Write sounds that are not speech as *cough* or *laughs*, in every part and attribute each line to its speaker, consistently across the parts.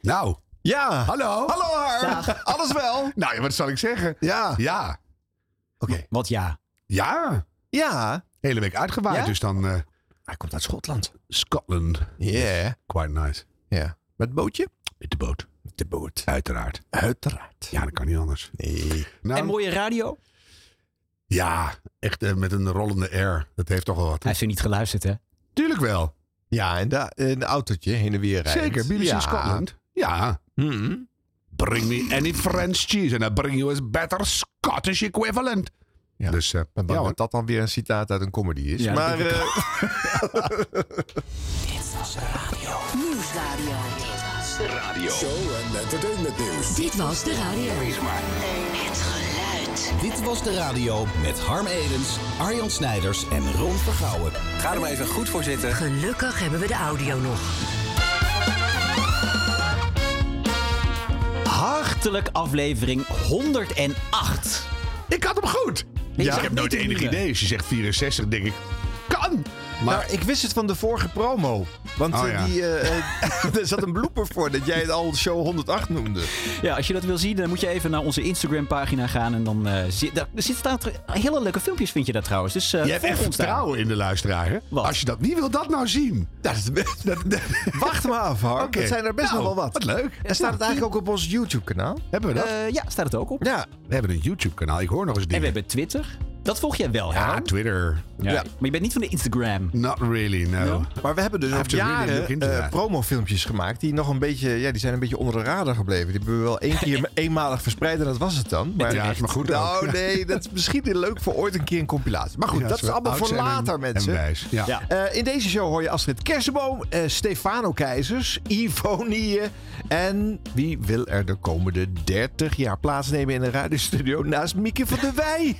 Speaker 1: Nou,
Speaker 2: Ja.
Speaker 1: hallo.
Speaker 2: Hallo haar.
Speaker 3: Dag.
Speaker 2: Alles wel?
Speaker 1: Nou, ja, wat zal ik zeggen?
Speaker 2: Ja.
Speaker 1: Ja. Oké.
Speaker 3: Wat ja.
Speaker 1: Ja.
Speaker 2: Ja.
Speaker 1: Hele week uitgewaaid,
Speaker 3: Ja?
Speaker 1: dus dan eh,
Speaker 3: Hij komt uit Schotland.
Speaker 1: Scotland.
Speaker 2: Yeah.
Speaker 1: Quite nice.
Speaker 2: Ja. Met bootje?
Speaker 1: Met de boot.
Speaker 2: De boot.
Speaker 1: Uiteraard.
Speaker 2: Uiteraard.
Speaker 1: Ja, dat kan niet anders.
Speaker 2: Nee.
Speaker 1: Nou,
Speaker 3: En mooie radio.
Speaker 1: ja, echt eh, met een rollende air. Dat heeft toch wel wat.
Speaker 3: Hij heeft er niet geluisterd, hè?
Speaker 1: Tuurlijk wel.
Speaker 2: Ja, en da- een autootje heen en weer rijden.
Speaker 1: Zeker, BBC
Speaker 2: ja.
Speaker 1: Scotland. Ja.
Speaker 2: Mhm.
Speaker 1: Bring me any French cheese and I bring you a better Scottish equivalent.
Speaker 2: Ja.
Speaker 1: Dus eh,
Speaker 2: Ik ben bang
Speaker 1: ja, hoor.
Speaker 2: dat dat dan weer een citaat uit een comedy is.
Speaker 3: Ja,
Speaker 2: maar
Speaker 3: dat
Speaker 2: eh,
Speaker 4: Nieuwsradio.
Speaker 5: Show en entertainment nieuws.
Speaker 4: Dit was de radio. Het geluid.
Speaker 6: Dit was de radio met Harm Edens, Arjan Snijders en Ron Vergouwen.
Speaker 7: Ga er maar even goed voor zitten.
Speaker 4: Gelukkig hebben we de audio nog.
Speaker 3: Hartelijk aflevering 108.
Speaker 1: Ik had hem goed.
Speaker 3: zag
Speaker 1: ik heb
Speaker 3: het
Speaker 1: nooit
Speaker 3: niet
Speaker 1: enig
Speaker 3: in de-
Speaker 1: idee. Als je zegt 64, denk ik, kan. Maar
Speaker 2: nou, ik wist het van de vorige promo. Want
Speaker 1: Oh,
Speaker 2: eh,
Speaker 1: ja.
Speaker 2: die, *laughs* eh, eh, er zat een blooper voor dat jij het al show 108 noemde.
Speaker 3: Ja, als je dat wil zien, dan moet je even naar onze Instagram-pagina gaan. En dan eh, zie- daar, er zit, staat er hele leuke filmpjes, vind je dat trouwens. Dus eh
Speaker 1: je hebt
Speaker 3: volg
Speaker 1: echt
Speaker 3: ons daar.
Speaker 1: vertrouwen in de luisteraar. hè?
Speaker 3: Wat?
Speaker 1: Als je dat niet wil, dat nou zien.
Speaker 2: Dat is
Speaker 1: *laughs*
Speaker 2: *laughs* Wacht maar af, hoor.
Speaker 1: Oké.
Speaker 2: Dat zijn er best
Speaker 1: Nou,
Speaker 2: nog wel wat.
Speaker 1: Wat leuk.
Speaker 2: En staat het eigenlijk ook op ons YouTube-kanaal?
Speaker 1: Hebben we dat?
Speaker 3: Eh, ja, staat het ook op.
Speaker 2: Ja.
Speaker 1: we hebben een YouTube-kanaal. Ik hoor nog eens
Speaker 3: En we
Speaker 1: dingen.
Speaker 3: hebben Twitter. Dat volg jij wel, hè?
Speaker 1: Ja,
Speaker 3: Ron?
Speaker 1: Twitter.
Speaker 3: Ja. Maar je bent niet van de Instagram.
Speaker 1: Not really, no.
Speaker 3: No?
Speaker 2: Maar we hebben dus al
Speaker 1: have to really
Speaker 2: jaren
Speaker 1: look into
Speaker 2: eh,
Speaker 1: that.
Speaker 2: promofilmpjes gemaakt die nog een beetje, ja, die zijn een beetje onder de radar gebleven. Die hebben we wel
Speaker 1: *laughs*
Speaker 2: één keer eenmalig verspreid en dat was het dan. Maar,
Speaker 1: Ja, is maar goed
Speaker 2: Nou,
Speaker 1: ook.
Speaker 2: nee,
Speaker 1: *laughs*
Speaker 2: dat is misschien leuk voor ooit een keer een compilatie. Maar goed,
Speaker 1: Ja,
Speaker 2: dat is
Speaker 1: we
Speaker 2: allemaal
Speaker 1: oud
Speaker 2: voor
Speaker 1: zijn en-
Speaker 2: later, mensen.
Speaker 1: En wijs. Ja. Nou,
Speaker 3: Ja.
Speaker 2: Eh, in deze show hoor je Astrid Kersenboom, eh, Stefano Keizers, Ivonie en wie wil er de komende 30 jaar plaatsnemen in een radiostudio naast Mieke van der Wij?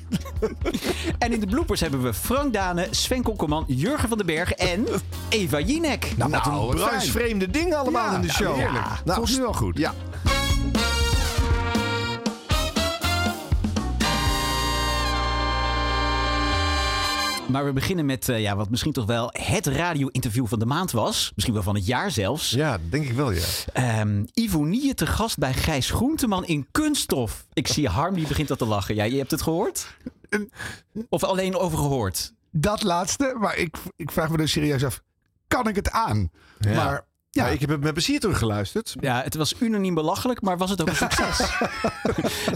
Speaker 3: En in de bloopers hebben we Frank Dane, Sven Kokkelman, Jurgen van den Berg en Eva Jinek.
Speaker 1: Nou,
Speaker 2: Wat
Speaker 1: *laughs*
Speaker 2: een
Speaker 1: wat fijn.
Speaker 2: bruisvreemde dingen allemaal
Speaker 1: Ja,
Speaker 2: in de
Speaker 1: ja,
Speaker 2: show.
Speaker 1: heerlijk.
Speaker 2: Nou,
Speaker 1: Voelt nu wel goed.
Speaker 2: Ja.
Speaker 3: Maar we beginnen met eh, ja, wat misschien toch wel het radio-interview van de maand was. Misschien wel van het jaar zelfs.
Speaker 2: ja, denk ik wel, ja.
Speaker 3: Ehm Ivonie te gast bij Gijs Groenteman in Kunststof. Ik zie Harm, die begint al te lachen. Ja, je hebt het gehoord? Of alleen over gehoord?
Speaker 1: Dat laatste, maar ik, ik vraag me dus serieus af, kan ik het aan? Maar ja,
Speaker 2: Ja, Nou, ik heb het met plezier teruggeluisterd.
Speaker 3: Ja, het was unaniem belachelijk, maar was het ook een
Speaker 1: *laughs*
Speaker 3: succes?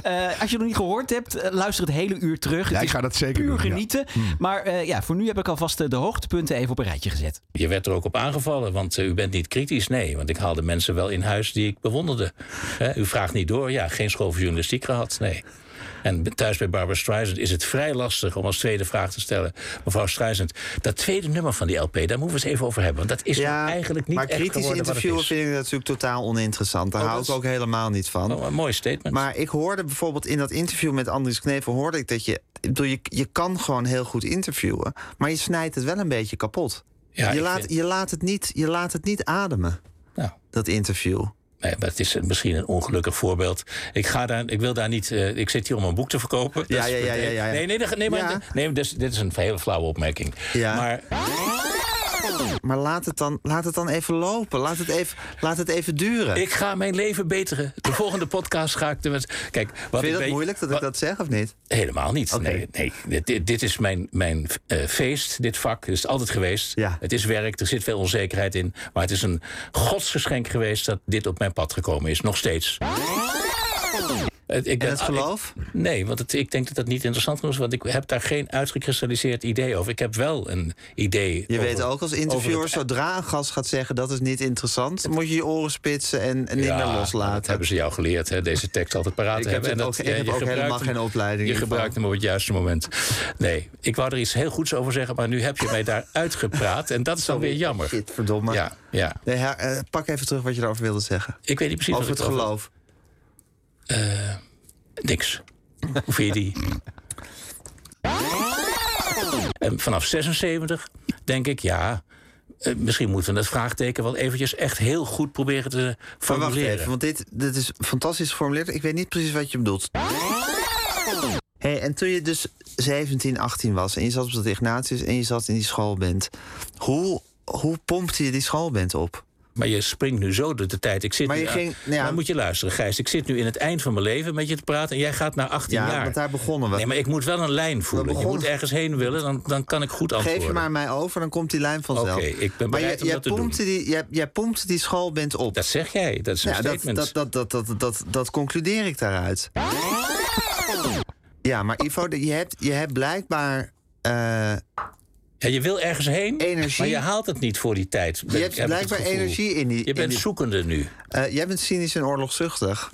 Speaker 3: Eh, als je het nog niet gehoord hebt, eh, luister het hele uur terug.
Speaker 1: ja,
Speaker 3: Het
Speaker 1: ik
Speaker 3: is
Speaker 1: ga dat zeker
Speaker 3: puur
Speaker 1: doen. ja. Hmm.
Speaker 3: genieten. Maar eh, ja, voor nu heb ik alvast eh, de hoogtepunten even op een rijtje gezet.
Speaker 8: Je werd er ook op aangevallen, want eh, u bent niet kritisch. Nee, want ik haalde mensen wel in huis die ik bewonderde. Hè, u vraagt niet door. Ja, geen school voor journalistiek gehad. Nee. En b- thuis bij Barbara Streisand is het vrij lastig om als tweede vraag te stellen. Mevrouw Streisand, dat tweede nummer van die LP, daar moeten we het even over hebben. Want dat is nou eigenlijk niet
Speaker 9: maar
Speaker 8: echt
Speaker 9: kritisch
Speaker 8: geworden wat het
Speaker 9: interviewen
Speaker 8: is.
Speaker 9: vind ik natuurlijk totaal oninteressant. Daar
Speaker 8: Oh,
Speaker 9: hou
Speaker 8: dat
Speaker 9: ik ook helemaal niet van.
Speaker 8: Oh, een mooi statement.
Speaker 9: Maar ik hoorde bijvoorbeeld in dat interview met Andries Knevel... hoorde ik dat je, ik bedoel, je... Je kan gewoon heel goed interviewen... maar je snijdt het wel een beetje kapot.
Speaker 8: Ja,
Speaker 9: je,
Speaker 8: ik
Speaker 9: laat,
Speaker 8: vind-
Speaker 9: je, laat het niet, je laat het niet ademen,
Speaker 8: Nou.
Speaker 9: dat interview.
Speaker 8: Nee, maar het is misschien een ongelukkig voorbeeld. Ik, ga daar, ik wil daar niet. eh, ik zit hier om een boek te verkopen.
Speaker 9: Ja,
Speaker 8: Dat is-
Speaker 9: ja, ja, ja, ja.
Speaker 8: Nee, nee, dat- nee, maar,
Speaker 9: Ja.
Speaker 8: nee dit, is- dit is een hele flauwe opmerking.
Speaker 9: Ja.
Speaker 8: Maar
Speaker 9: Maar laat het dan, laat het dan even lopen. Laat het even, laat het even duren.
Speaker 8: ik ga mijn leven beteren. De volgende podcast ga ik. De, mensen- kijk, wat
Speaker 9: Vind
Speaker 8: ik
Speaker 9: je dat
Speaker 8: weet-
Speaker 9: moeilijk dat ik
Speaker 8: wat-
Speaker 9: dat zeg of niet?
Speaker 8: Helemaal niet.
Speaker 9: Oké.
Speaker 8: Nee, nee. Dit- Dit, dit is mijn, mijn eh, feest, dit vak. Het is altijd geweest.
Speaker 9: Ja.
Speaker 8: Het is werk, er zit veel onzekerheid in. Maar het is een godsgeschenk geweest dat dit op mijn pad gekomen is. Nog steeds. Het- ik
Speaker 9: En
Speaker 8: ben-
Speaker 9: het
Speaker 8: ah, ik-
Speaker 9: geloof?
Speaker 8: nee, want het- ik denk dat dat niet interessant genoeg is. Want ik heb daar geen uitgekristalliseerd idee over. Ik heb wel een idee.
Speaker 9: Je
Speaker 8: over-
Speaker 9: weet ook als
Speaker 8: over
Speaker 9: interviewer,
Speaker 8: het- e-
Speaker 9: zodra een gast gaat zeggen dat is niet interessant, dan moet je je oren spitsen en, en niet
Speaker 8: Ja,
Speaker 9: meer
Speaker 8: Dat
Speaker 9: loslaten.
Speaker 8: hebben ze jou geleerd, hè? deze tekst altijd paraat
Speaker 9: Ik heb
Speaker 8: hebben.
Speaker 9: het
Speaker 8: dat-
Speaker 9: ook- ik
Speaker 8: ja,
Speaker 9: heb
Speaker 8: je
Speaker 9: ook
Speaker 8: gebruikt
Speaker 9: helemaal
Speaker 8: hem-
Speaker 9: geen opleiding
Speaker 8: Je
Speaker 9: hiervan.
Speaker 8: gebruikt hem op het juiste moment. Nee, ik wou er iets heel goeds over zeggen, maar nu heb je mij
Speaker 9: *laughs*
Speaker 8: daar uitgepraat. En dat is dan weer jammer.
Speaker 9: Shit, verdomme.
Speaker 8: Ja, ja.
Speaker 9: Nee, her- eh, pak even terug wat je daarover wilde zeggen.
Speaker 8: Ik weet niet precies
Speaker 9: over
Speaker 8: wat
Speaker 9: het
Speaker 8: ik erover-
Speaker 9: geloof. *laughs*
Speaker 8: Niks. Hoe vind je die? En vanaf 76 denk ik, ja, eh, misschien moeten we dat vraagteken wel eventjes echt heel goed proberen te
Speaker 9: Maar wacht
Speaker 8: formuleren.
Speaker 9: even, want dit, dit is fantastisch geformuleerd. Ik weet niet precies wat je bedoelt. Hey, en toen je dus 17, 18 was en je zat op dat Ignatius en je zat in die schoolband, hoe, hoe pompte je die schoolband op?
Speaker 8: Maar je springt nu zo door de tijd. Ik zit
Speaker 9: Maar je
Speaker 8: nu-
Speaker 9: ging- nou ja.
Speaker 8: Maar moet je luisteren, Gijs. Ik zit nu in het eind van mijn leven met je te praten. En jij gaat naar 18
Speaker 9: Ja,
Speaker 8: jaar.
Speaker 9: want daar begonnen we.
Speaker 8: Nee, maar ik moet wel een lijn voelen. Je
Speaker 9: begonnen-
Speaker 8: moet ergens heen willen, dan, dan kan ik goed antwoorden.
Speaker 9: Geef je maar aan mij over, dan komt die lijn vanzelf.
Speaker 8: Oké, ik ben
Speaker 9: maar
Speaker 8: bereid
Speaker 9: jij,
Speaker 8: om
Speaker 9: jij
Speaker 8: dat te doen.
Speaker 9: pompte Die, jij, jij pompte die schoolband op.
Speaker 8: Dat zeg jij. Dat is een
Speaker 9: ja, dat,
Speaker 8: statement.
Speaker 9: dat, dat, dat, dat, dat, dat concludeer ik daaruit. Ja, maar Ivo, je hebt, je hebt blijkbaar. eh,
Speaker 8: Ja, je wil ergens heen,
Speaker 9: Energie.
Speaker 8: maar je haalt het niet voor die tijd.
Speaker 9: je hebt blijkbaar energie in die.
Speaker 8: Je
Speaker 9: in
Speaker 8: bent
Speaker 9: die-
Speaker 8: zoekende nu.
Speaker 9: eh, jij bent cynisch en oorlogzuchtig.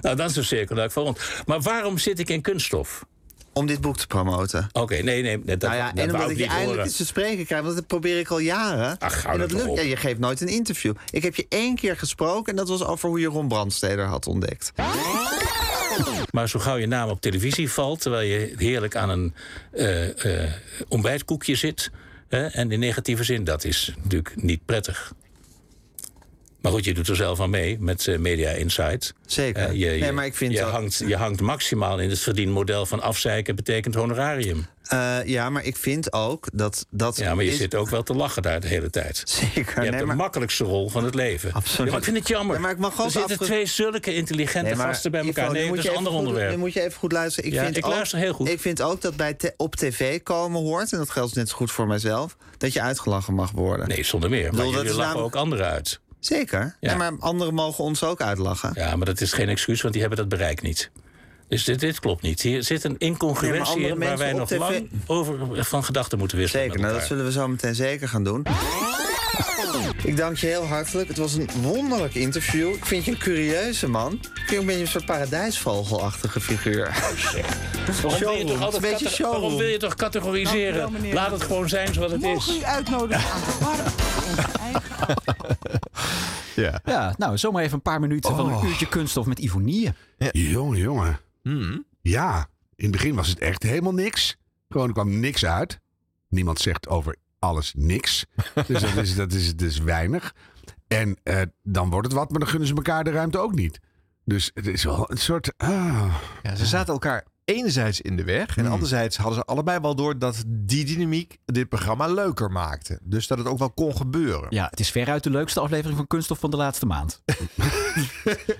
Speaker 8: Nou, dat is een cirkel dat ik voor rond. Maar waarom zit ik in kunststof?
Speaker 9: om dit boek te promoten.
Speaker 8: Oké, nee, nee. Dat,
Speaker 9: nou ja,
Speaker 8: dat
Speaker 9: en
Speaker 8: wou
Speaker 9: omdat ik
Speaker 8: ik
Speaker 9: je
Speaker 8: niet
Speaker 9: eindelijk
Speaker 8: horen.
Speaker 9: eens te spreken krijg, want dat probeer ik al jaren.
Speaker 8: Ach, hou
Speaker 9: en
Speaker 8: dat
Speaker 9: dat
Speaker 8: toch op.
Speaker 9: lukt. Ja, je geeft nooit een interview. Ik heb je één keer gesproken en dat was over hoe je Ron Brandsteder had ontdekt.
Speaker 8: Maar zo gauw je naam op televisie valt, terwijl je heerlijk aan een eh, eh, ontbijtkoekje zit. Hè, en in negatieve zin, dat is natuurlijk niet prettig. Maar goed, je doet er zelf aan mee met eh, Media Insight.
Speaker 9: Zeker.
Speaker 8: Eh, je,
Speaker 9: nee,
Speaker 8: je-
Speaker 9: maar ik vind
Speaker 8: je,
Speaker 9: dat-
Speaker 8: hangt, je hangt maximaal in het verdienmodel van afzeiken betekent honorarium.
Speaker 9: Eh, ja, maar ik vind ook dat. dat
Speaker 8: Ja, maar je
Speaker 9: is-
Speaker 8: zit ook wel te lachen daar de hele tijd.
Speaker 9: Zeker.
Speaker 8: Je
Speaker 9: nee,
Speaker 8: hebt de
Speaker 9: maar,
Speaker 8: makkelijkste rol van het leven.
Speaker 9: Absoluut.
Speaker 8: Ja, maar ik vind het jammer.
Speaker 9: Ja, maar ik mag ook
Speaker 8: er zitten
Speaker 9: afge-
Speaker 8: twee zulke intelligente
Speaker 9: nee, maar
Speaker 8: gasten bij elkaar.
Speaker 9: Ivo, nu
Speaker 8: nee,
Speaker 9: moet
Speaker 8: dat is
Speaker 9: je
Speaker 8: een
Speaker 9: even
Speaker 8: ander
Speaker 9: goed-
Speaker 8: onderwerp.
Speaker 9: Nu moet je even goed luisteren. Ik,
Speaker 8: Ja,
Speaker 9: vind
Speaker 8: ik
Speaker 9: ook-
Speaker 8: luister heel goed.
Speaker 9: Ik vind ook dat bij te- op tv komen hoort, en dat geldt net zo goed voor mijzelf, dat je uitgelachen mag worden.
Speaker 8: Nee, zonder meer. Maar
Speaker 9: bedoel, dat
Speaker 8: jullie
Speaker 9: is
Speaker 8: lachen
Speaker 9: namelijk-
Speaker 8: ook anderen uit.
Speaker 9: Zeker.
Speaker 8: Ja.
Speaker 9: Nee, maar anderen mogen ons ook uitlachen.
Speaker 8: Ja, maar dat is geen excuus, want die hebben dat bereik niet. Dus dit, dit klopt niet. Hier zit een
Speaker 9: Nee, maar
Speaker 8: incongruentie
Speaker 9: andere
Speaker 8: in waar
Speaker 9: mensen
Speaker 8: wij
Speaker 9: op
Speaker 8: nog
Speaker 9: tv
Speaker 8: lang over van gedachten moeten wisselen.
Speaker 9: Zeker,
Speaker 8: met
Speaker 9: nou, dat
Speaker 8: elkaar.
Speaker 9: zullen we zo meteen zeker gaan doen. Ik dank je heel hartelijk. Het was een wonderlijk interview. Ik vind je een curieuze man. Ik vind je een beetje een soort paradijsvogelachtige figuur. *laughs*
Speaker 8: Waarom wil je
Speaker 9: Showroom.
Speaker 8: toch altijd
Speaker 9: Een beetje
Speaker 8: cate-
Speaker 9: showroom.
Speaker 8: Waarom wil je toch categoriseren? Laat het gewoon zijn zoals het is.
Speaker 7: Mogen u uitnodigen aan de warmte van ons eigen
Speaker 1: *laughs*
Speaker 2: Ja.
Speaker 3: Ja, nou, zomaar even een paar minuten van
Speaker 1: Oh.
Speaker 3: een uurtje kunststof met Ivonie.
Speaker 1: Jongen, jongen. Ja, in het begin was het echt helemaal niks. Gewoon, er kwam niks uit. Niemand zegt over alles niks. Dus dat is, dat is, dus weinig. En eh, dan wordt het wat, maar dan gunnen ze elkaar de ruimte ook niet. Dus het is wel een soort... ah.
Speaker 2: Ja, ze zaten elkaar enerzijds in de weg. En
Speaker 9: Hmm.
Speaker 2: anderzijds hadden ze allebei wel door dat die dynamiek dit programma leuker maakte. Dus dat het ook wel kon gebeuren.
Speaker 3: Ja, het is veruit de leukste aflevering van kunststof van de laatste maand.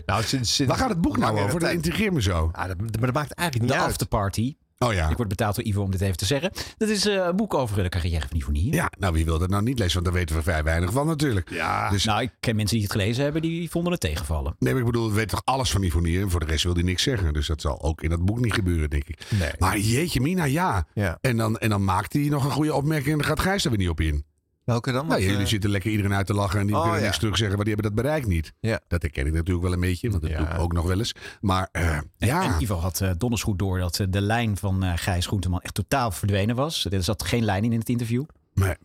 Speaker 2: Nou, sinds, sinds
Speaker 1: Waar gaat het boek nou
Speaker 2: langere
Speaker 1: over? Dat
Speaker 2: tijd.
Speaker 1: intrigeert me zo.
Speaker 2: Ah, dat, maar dat maakt eigenlijk
Speaker 3: De
Speaker 2: niet uit.
Speaker 3: afterparty.
Speaker 1: Oh ja.
Speaker 3: Ik word betaald door Ivo om dit even te zeggen. Dat is eh, een boek over de carrière van Ivonie.
Speaker 1: Ja, nou wie wil dat nou niet lezen? Want daar weten we vrij weinig van natuurlijk. Ja. Dus
Speaker 3: Nou, ik ken mensen die het gelezen hebben, die vonden het tegenvallen.
Speaker 1: Nee, maar ik bedoel, we weten toch alles van Ivonier. En voor de rest wil hij niks zeggen. Dus dat zal ook in dat boek niet gebeuren, denk ik.
Speaker 2: Nee.
Speaker 1: Maar jeetje mina, ja.
Speaker 2: Ja.
Speaker 1: En, dan, en dan maakt hij nog een goede opmerking en dan gaat Gijs er weer niet op in.
Speaker 2: Welke dan?
Speaker 1: Nou,
Speaker 2: Of,
Speaker 1: jullie
Speaker 2: eh,
Speaker 1: zitten lekker iedereen uit te lachen en die
Speaker 2: Oh,
Speaker 1: kunnen
Speaker 2: ja.
Speaker 1: niks terugzeggen, maar die hebben dat bereik niet.
Speaker 2: Ja.
Speaker 1: Dat herken ik natuurlijk wel een beetje, want dat
Speaker 2: Ja.
Speaker 1: doe ik ook nog wel eens. Maar eh, ja,
Speaker 2: Ah.
Speaker 3: En Ivo had eh, donders goed door dat eh, de lijn van eh, Gijs Groenteman echt totaal verdwenen was. Er zat geen lijn in in het interview.
Speaker 1: maar,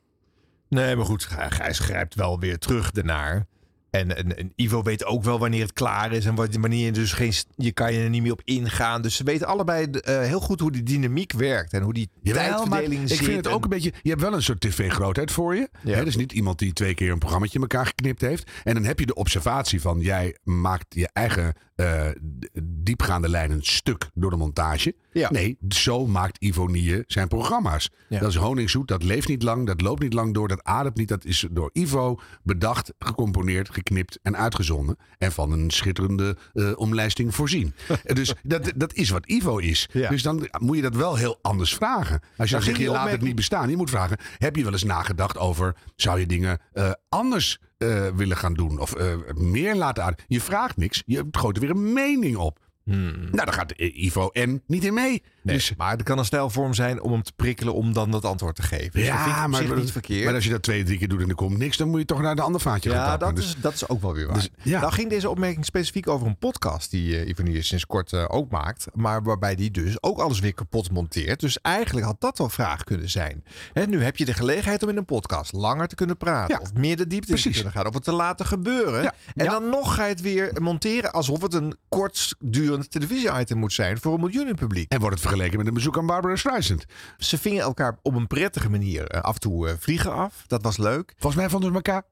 Speaker 2: Nee, maar goed, Gij- Gijs grijpt wel weer terug daarnaar. En, en, en Ivo weet ook wel wanneer het klaar is en wat- wanneer je dus geen, je kan je er niet meer op ingaan. Dus ze weten allebei eh, heel goed hoe die dynamiek werkt en hoe die
Speaker 1: jawel, maar
Speaker 2: tijdverdeling
Speaker 1: ik
Speaker 2: zit.
Speaker 1: vind het ook
Speaker 2: en-
Speaker 1: een beetje... Je hebt wel een soort tv-grootheid voor je.
Speaker 2: Ja.
Speaker 1: Hè, dus niet iemand die twee keer een programma in elkaar geknipt heeft. En dan heb je de observatie van, jij maakt je eigen eh, d- diepgaande lijnen stuk door de montage.
Speaker 2: Ja.
Speaker 1: Nee, zo maakt Ivonie zijn programma's.
Speaker 2: Ja.
Speaker 1: Dat is honingzoet, dat leeft niet lang, dat loopt niet lang door, dat ademt niet. Dat is door Ivo bedacht, gecomponeerd, geknipt en uitgezonden. En van een schitterende eh, omlijsting
Speaker 2: *laughs*
Speaker 1: voorzien. Eh, dus dat, dat is wat Ivo is.
Speaker 2: Ja.
Speaker 1: Dus dan moet je dat wel heel anders vragen. Als je dan
Speaker 2: ging
Speaker 1: zegt, je
Speaker 2: die
Speaker 1: laat het
Speaker 2: opmerking-
Speaker 1: niet bestaan. Je moet vragen, heb je wel eens nagedacht over, zou je dingen eh, anders eh, willen gaan doen? Of eh, meer laten aan? Je vraagt niks, je gooit er weer een mening op. Nou, daar gaat eh, Ivo en niet in mee.
Speaker 2: Nee,
Speaker 1: Dus
Speaker 2: maar het kan een stijlvorm zijn om hem te prikkelen om dan dat antwoord te geven. Dus dat vind ik
Speaker 1: ja,
Speaker 2: op
Speaker 1: maar,
Speaker 2: zich niet verkeerd.
Speaker 1: maar als je dat twee, drie keer doet en er komt niks, dan moet je toch naar de ander vaatje gaan
Speaker 2: ja,
Speaker 1: tappen.
Speaker 2: dat
Speaker 1: Dus-
Speaker 2: is, dat is ook wel weer waar.
Speaker 1: dus- ja.
Speaker 2: Nou ging deze opmerking specifiek over een podcast die eh Ivanier sinds kort eh, ook maakt. Maar waarbij die dus ook alles weer kapot monteert. Dus eigenlijk had dat wel vraag kunnen zijn. Hè, nu heb je de gelegenheid om in een podcast langer te kunnen praten.
Speaker 1: Ja,
Speaker 2: Of meer de diepte in
Speaker 1: precies.
Speaker 2: te kunnen gaan. Of het te laten gebeuren.
Speaker 1: Ja.
Speaker 2: En dan nog ga je het weer monteren alsof het een kortdurend televisie-item moet zijn voor een miljoenenpubliek.
Speaker 1: En wordt het vergeleken met een bezoek aan Barbara Streisand.
Speaker 2: Ze vingen elkaar op een prettige manier eh, af en toe eh, vliegen af. Dat was leuk.
Speaker 1: Volgens mij vonden ze elkaar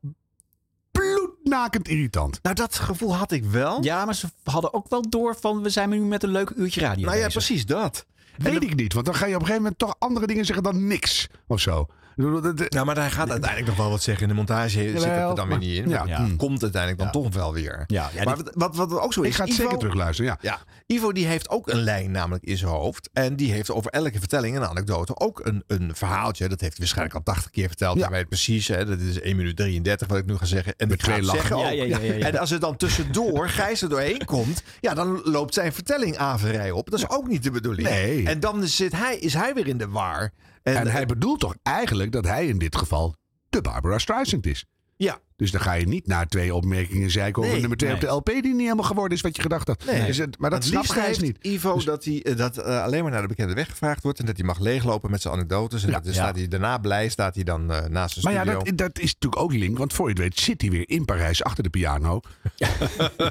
Speaker 1: bloednakend irritant.
Speaker 2: Nou, dat gevoel had ik wel.
Speaker 3: Ja, maar ze hadden ook wel door van we zijn nu met een leuk uurtje radio
Speaker 2: nou ja,
Speaker 3: bezig.
Speaker 2: precies dat.
Speaker 1: Weet ik niet, want dan ga je op een gegeven moment toch andere dingen zeggen dan niks of zo. Ik bedoel, dat- dat-
Speaker 2: Nou, maar hij gaat uiteindelijk nog wel wat zeggen in de montage. zitten we
Speaker 1: Jawel,
Speaker 2: er dan weer niet in.
Speaker 1: maar-
Speaker 2: Maar
Speaker 1: ja.
Speaker 2: het Komt uiteindelijk dan toch wel weer.
Speaker 3: Ja, ja,
Speaker 2: maar
Speaker 3: dit-
Speaker 2: wat, wat, wat ook zo is.
Speaker 1: Ik ga het
Speaker 2: Ivo-
Speaker 1: zeker terugluisteren, ja.
Speaker 2: Ja, Ivo die heeft ook een lijn namelijk in zijn hoofd. En die heeft over elke vertelling en anekdote ook een, een verhaaltje. Dat heeft hij waarschijnlijk al 80 keer verteld.
Speaker 1: Ja.
Speaker 2: Ja. weet het precies. Hè, dat is 1 minuut 33 wat ik nu ga zeggen. En ik ga
Speaker 1: twee
Speaker 2: het
Speaker 1: lachen.
Speaker 2: zeggen ook.
Speaker 3: Ja, ja, ja, ja, ja.
Speaker 2: En als er dan tussendoor Gijs er doorheen komt. Ja, dan loopt zijn vertelling averij op. Dat is ook niet de bedoeling.
Speaker 1: Nee.
Speaker 2: En dan zit hij, is hij weer in de war. En,
Speaker 1: En hij bedoelt toch eigenlijk dat hij in dit geval de Barbara Streisand is.
Speaker 2: Ja.
Speaker 1: Dus dan ga je niet naar twee opmerkingen zeiken over
Speaker 2: Nee,
Speaker 1: nummer twee
Speaker 3: nee.
Speaker 1: op de LP die niet helemaal geworden is wat je gedacht had.
Speaker 2: Nee.
Speaker 1: Dus het- maar dat
Speaker 2: Het
Speaker 1: snapt
Speaker 2: liefst
Speaker 1: Gijs
Speaker 2: heeft
Speaker 1: niet. Dus-
Speaker 2: Ivo dat hij eh, dat eh, alleen maar naar de bekende weg gevraagd wordt en dat hij mag leeglopen met zijn anekdotes. En dat is-
Speaker 3: ja.
Speaker 2: staat hij daarna blij, staat hij dan eh, naast zijn
Speaker 1: Maar ja,
Speaker 2: studio.
Speaker 1: dat, dat is natuurlijk ook link. Want voor je het weet zit hij weer in Parijs achter de
Speaker 2: *laughs*
Speaker 1: piano.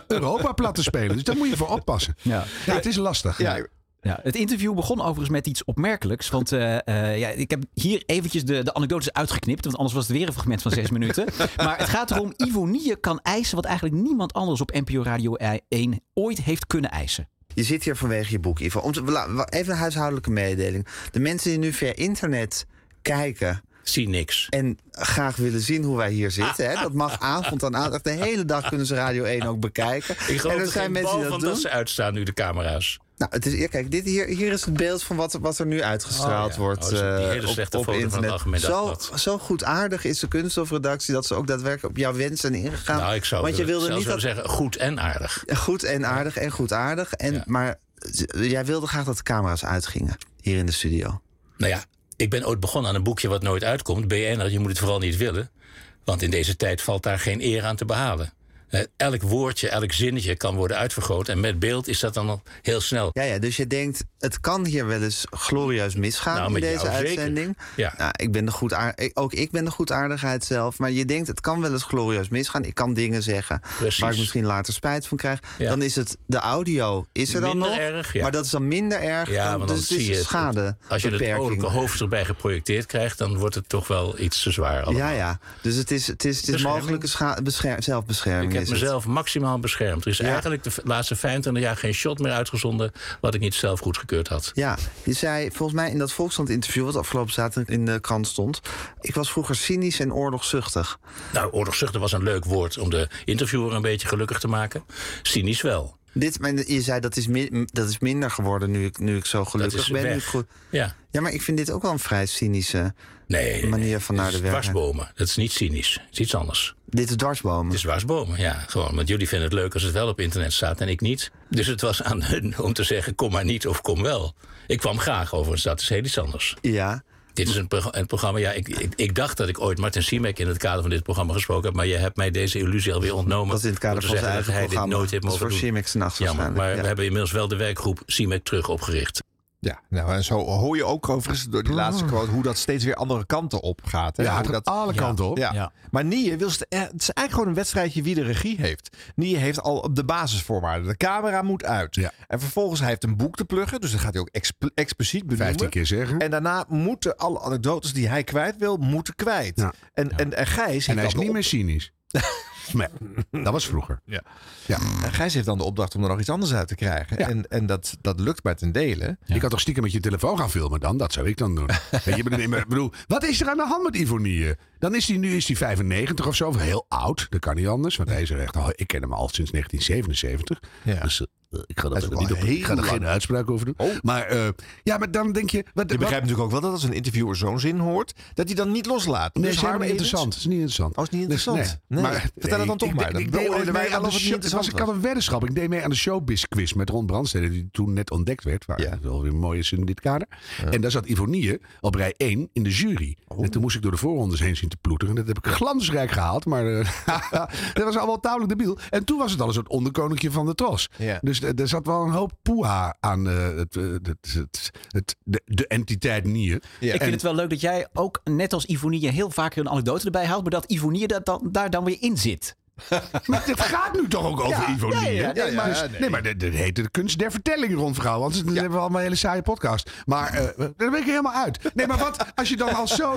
Speaker 1: Europa plat te spelen. Dus daar moet je voor oppassen.
Speaker 3: Ja.
Speaker 1: Ja, het is lastig.
Speaker 2: Ja,
Speaker 3: Ja, het interview begon overigens met iets opmerkelijks. Want eh, eh, ja, ik heb hier eventjes de, de anekdotes uitgeknipt. Want anders was het weer een fragment van
Speaker 1: *laughs*
Speaker 3: zes minuten. Maar het gaat erom, Ivonie kan eisen wat eigenlijk niemand anders op NPO Radio 1 ooit heeft kunnen eisen.
Speaker 9: Je zit hier vanwege je boek, Ivo. Om te- la- wa- even een huishoudelijke mededeling. De mensen die nu via internet kijken
Speaker 8: Zie niks.
Speaker 9: en graag willen zien hoe wij hier zitten... hè, dat
Speaker 8: *laughs*
Speaker 9: mag avond aan avond. De hele dag kunnen ze Radio 1 ook bekijken.
Speaker 8: Ik geloof
Speaker 9: en
Speaker 8: er geen bal van dat ze uitstaan nu, de camera's.
Speaker 9: Nou, het is, ja, kijk, dit hier, hier is het beeld van wat, wat er nu uitgestraald
Speaker 8: Oh, ja.
Speaker 9: wordt
Speaker 8: Oh, dat is die
Speaker 9: eh,
Speaker 8: hele
Speaker 9: op,
Speaker 8: slechte
Speaker 9: op
Speaker 8: foto van het
Speaker 9: internet.
Speaker 8: Algemeen
Speaker 9: zo,
Speaker 8: Dagblad.
Speaker 9: zo goedaardig is de kunststofredactie dat ze ook daadwerkelijk op jouw wens zijn ingegaan.
Speaker 8: nou, ik zou
Speaker 9: Want je wilde
Speaker 8: zelfs
Speaker 9: niet
Speaker 8: willen
Speaker 9: dat
Speaker 8: zeggen, goed en aardig.
Speaker 9: goed en aardig en goed aardig. En,
Speaker 8: Ja.
Speaker 9: Maar z- jij wilde graag dat de camera's uitgingen hier in de studio.
Speaker 8: Nou ja, ik ben ooit begonnen aan een boekje wat nooit uitkomt. BN'er, je moet het vooral niet willen. Want in deze tijd valt daar geen eer aan te behalen. Eh, Elk woordje, elk zinnetje kan worden uitvergroot. En met beeld is dat dan al heel snel.
Speaker 9: Ja, ja, dus je denkt, het kan hier wel eens glorieus misgaan
Speaker 8: Nou,
Speaker 9: in
Speaker 8: met
Speaker 9: deze
Speaker 8: jou zeker.
Speaker 9: uitzending.
Speaker 8: Ja.
Speaker 9: Nou, ik ben de goedaar- ik- ook ik ben de goedaardigheid zelf. Maar je denkt, het kan wel eens glorieus misgaan. Ik kan dingen zeggen
Speaker 8: Precies.
Speaker 9: waar ik misschien later spijt van krijg.
Speaker 8: Ja.
Speaker 9: Dan is het, de audio is er dan
Speaker 8: Minder
Speaker 9: nog.
Speaker 8: erg, ja.
Speaker 9: Maar dat is dan minder erg.
Speaker 8: Ja,
Speaker 9: dan,
Speaker 8: want dan
Speaker 9: dus het
Speaker 8: zie
Speaker 9: is
Speaker 8: je het.
Speaker 9: schade.
Speaker 8: Als je het oorlijke hoofd erbij geprojecteerd krijgt, dan wordt het toch wel iets te zwaar. allemaal.
Speaker 9: Ja, ja. Dus het is, het is, het is
Speaker 8: Bescherming.
Speaker 9: mogelijke scha- bescher- zelfbescherming.
Speaker 8: Ik
Speaker 9: is
Speaker 8: heb
Speaker 9: het.
Speaker 8: mezelf maximaal beschermd. Er is eigenlijk de v- laatste 25 jaar geen shot meer uitgezonden wat ik niet zelf goedgekeurd had.
Speaker 9: Ja, je zei volgens mij in dat Volkskrant-interview... wat afgelopen zaterdag in de krant stond... ik was vroeger cynisch en oorlogzuchtig.
Speaker 8: Nou, oorlogszuchtig was een leuk woord om de interviewer een beetje gelukkig te maken. Cynisch wel.
Speaker 9: Dit, maar je zei dat is, mi- dat is minder geworden nu ik, nu ik zo
Speaker 8: Dat
Speaker 9: gelukkig
Speaker 8: is
Speaker 9: ben. Nu ik
Speaker 8: weg.
Speaker 9: goed.
Speaker 8: Ja.
Speaker 9: Ja, maar ik vind dit ook wel een vrij cynische...
Speaker 8: Nee, nee, nee.
Speaker 9: Manier van naar
Speaker 8: Het is
Speaker 9: de werk, hè?
Speaker 8: Dwarsbomen. Dat is niet cynisch. Het is iets anders.
Speaker 9: Dit is dwarsbomen.
Speaker 8: Het is dwarsbomen, ja. Gewoon, want jullie vinden het leuk als het wel op internet staat en ik niet. Dus het was aan hun om te zeggen, kom maar niet of kom wel. Ik kwam graag overigens, dat is heel iets anders.
Speaker 9: Ja,
Speaker 8: Dit is een, pro- een programma. Ja, ik, ik, ik dacht dat ik ooit Martin Siemek in het kader van dit programma gesproken heb. Maar je hebt mij deze illusie alweer ontnomen.
Speaker 9: dat is in het kader
Speaker 8: door
Speaker 9: van
Speaker 8: te
Speaker 9: zijn
Speaker 8: zeggen
Speaker 9: eigen
Speaker 8: dat hij
Speaker 9: programma.
Speaker 8: dit nooit heeft
Speaker 9: dat is
Speaker 8: mogen
Speaker 9: voor
Speaker 8: doen.
Speaker 9: Simics nachts
Speaker 8: Jammer, maar
Speaker 9: waarschijnlijk.
Speaker 8: we
Speaker 9: ja.
Speaker 8: hebben inmiddels wel de werkgroep Siemek terug opgericht.
Speaker 2: Ja, nou, en zo hoor je ook overigens door die laatste quote hoe dat steeds weer andere kanten op gaat. Hè?
Speaker 1: Ja, het
Speaker 2: Hoe
Speaker 1: gaat
Speaker 2: dat,
Speaker 1: alle kanten op.
Speaker 2: ja.
Speaker 3: Ja.
Speaker 2: Maar Nie wil het, eh, het is eigenlijk gewoon een wedstrijdje wie de regie heeft. Nie heeft al op de basisvoorwaarden. De camera moet uit.
Speaker 1: Ja.
Speaker 2: En vervolgens hij heeft een boek te pluggen, dus dat gaat hij ook exp- expliciet benoemen.
Speaker 1: 15 keer zeggen.
Speaker 2: En daarna moeten alle anekdotes die hij kwijt wil, moeten kwijt.
Speaker 1: Ja.
Speaker 2: En, En, en Gijs
Speaker 1: En
Speaker 2: heeft
Speaker 1: hij is
Speaker 2: dan
Speaker 1: niet
Speaker 2: de
Speaker 1: meer
Speaker 2: *laughs*
Speaker 1: cynisch. Nee, dat was vroeger.
Speaker 2: op- Gijs heeft dan de opdracht om er nog iets anders uit te krijgen.
Speaker 1: Ja.
Speaker 2: En, en dat, dat lukt bij ten dele.
Speaker 1: Je kan toch stiekem met je telefoon gaan filmen dan? Dat zou ik dan doen.
Speaker 2: *laughs*
Speaker 1: Weet je, ik bedoel, ik bedoel, wat is er aan de hand met Ivonie? Dan is hij nu is hij 95 of zo, of heel oud. Dat kan niet anders, want hij is er echt al... Ik ken hem al sinds 1977.
Speaker 2: Ja.
Speaker 1: Dus eh, ik ga,
Speaker 2: Hij is
Speaker 1: dat
Speaker 2: ook
Speaker 1: niet
Speaker 2: al
Speaker 1: op, ik ga
Speaker 2: heel
Speaker 1: er geen
Speaker 2: lang. Oh.
Speaker 1: uitspraak over doen. Maar, eh, ja, maar dan denk je... Wat,
Speaker 2: Je begrijpt natuurlijk ook wel dat als een interviewer zo'n zin hoort, dat hij dan niet loslaat.
Speaker 1: wat, nee,
Speaker 2: Dus
Speaker 1: is helemaal
Speaker 2: Harm
Speaker 1: niet
Speaker 2: Edens-
Speaker 1: interessant. Het is niet interessant.
Speaker 2: Oh, is niet
Speaker 1: Dus,
Speaker 2: interessant. Nee. Vertel het dan toch
Speaker 1: ik-
Speaker 2: maar.
Speaker 1: Ik,
Speaker 2: Dan
Speaker 1: ik deed
Speaker 2: beoordelen
Speaker 1: ooit
Speaker 2: wij
Speaker 1: mee
Speaker 2: wel
Speaker 1: aan de
Speaker 2: of het niet
Speaker 1: show- het was,
Speaker 2: interessant
Speaker 1: ik had een weddenschap. Ik deed mee aan de showbiz quiz met Ron Brandstede, die toen net ontdekt werd. Waar
Speaker 2: Ja.
Speaker 1: het wel weer mooi is in dit kader. En daar zat Ivonie op rij 1 in de jury.
Speaker 2: Oh.
Speaker 1: En toen moest ik door de voorrondes heen zien te ploeteren. En dat heb ik glansrijk gehaald. Maar eh, *laughs* dat was allemaal tamelijk debiel. En toen was het al een soort onderkoninkje van de tros.
Speaker 2: Ja.
Speaker 1: Dus eh, er zat wel een hoop poeha aan eh, het, eh, het, het, het- de, de entiteit Nier.
Speaker 2: Ja.
Speaker 3: Ik vind het wel leuk
Speaker 1: Oh,
Speaker 3: dat jij ook, net als Ivonie, heel vaak een anekdote erbij haalt. Maar dat Ivonie dat dan, daar dan weer in zit.
Speaker 1: Maar dit gaat nu toch ook over Ivo
Speaker 2: ja,
Speaker 1: Niehe?
Speaker 2: ja, ja,
Speaker 1: nee,
Speaker 2: ja,
Speaker 1: maar,
Speaker 2: ja,
Speaker 1: nee.
Speaker 2: nee.
Speaker 1: maar dit, dit heet de kunst der vertelling rondverhaal. Want dan hebben we allemaal een hele saaie podcast. Maar eh, daar ben ik er helemaal uit. Nee, maar wat als je dan als zo...
Speaker 2: *laughs*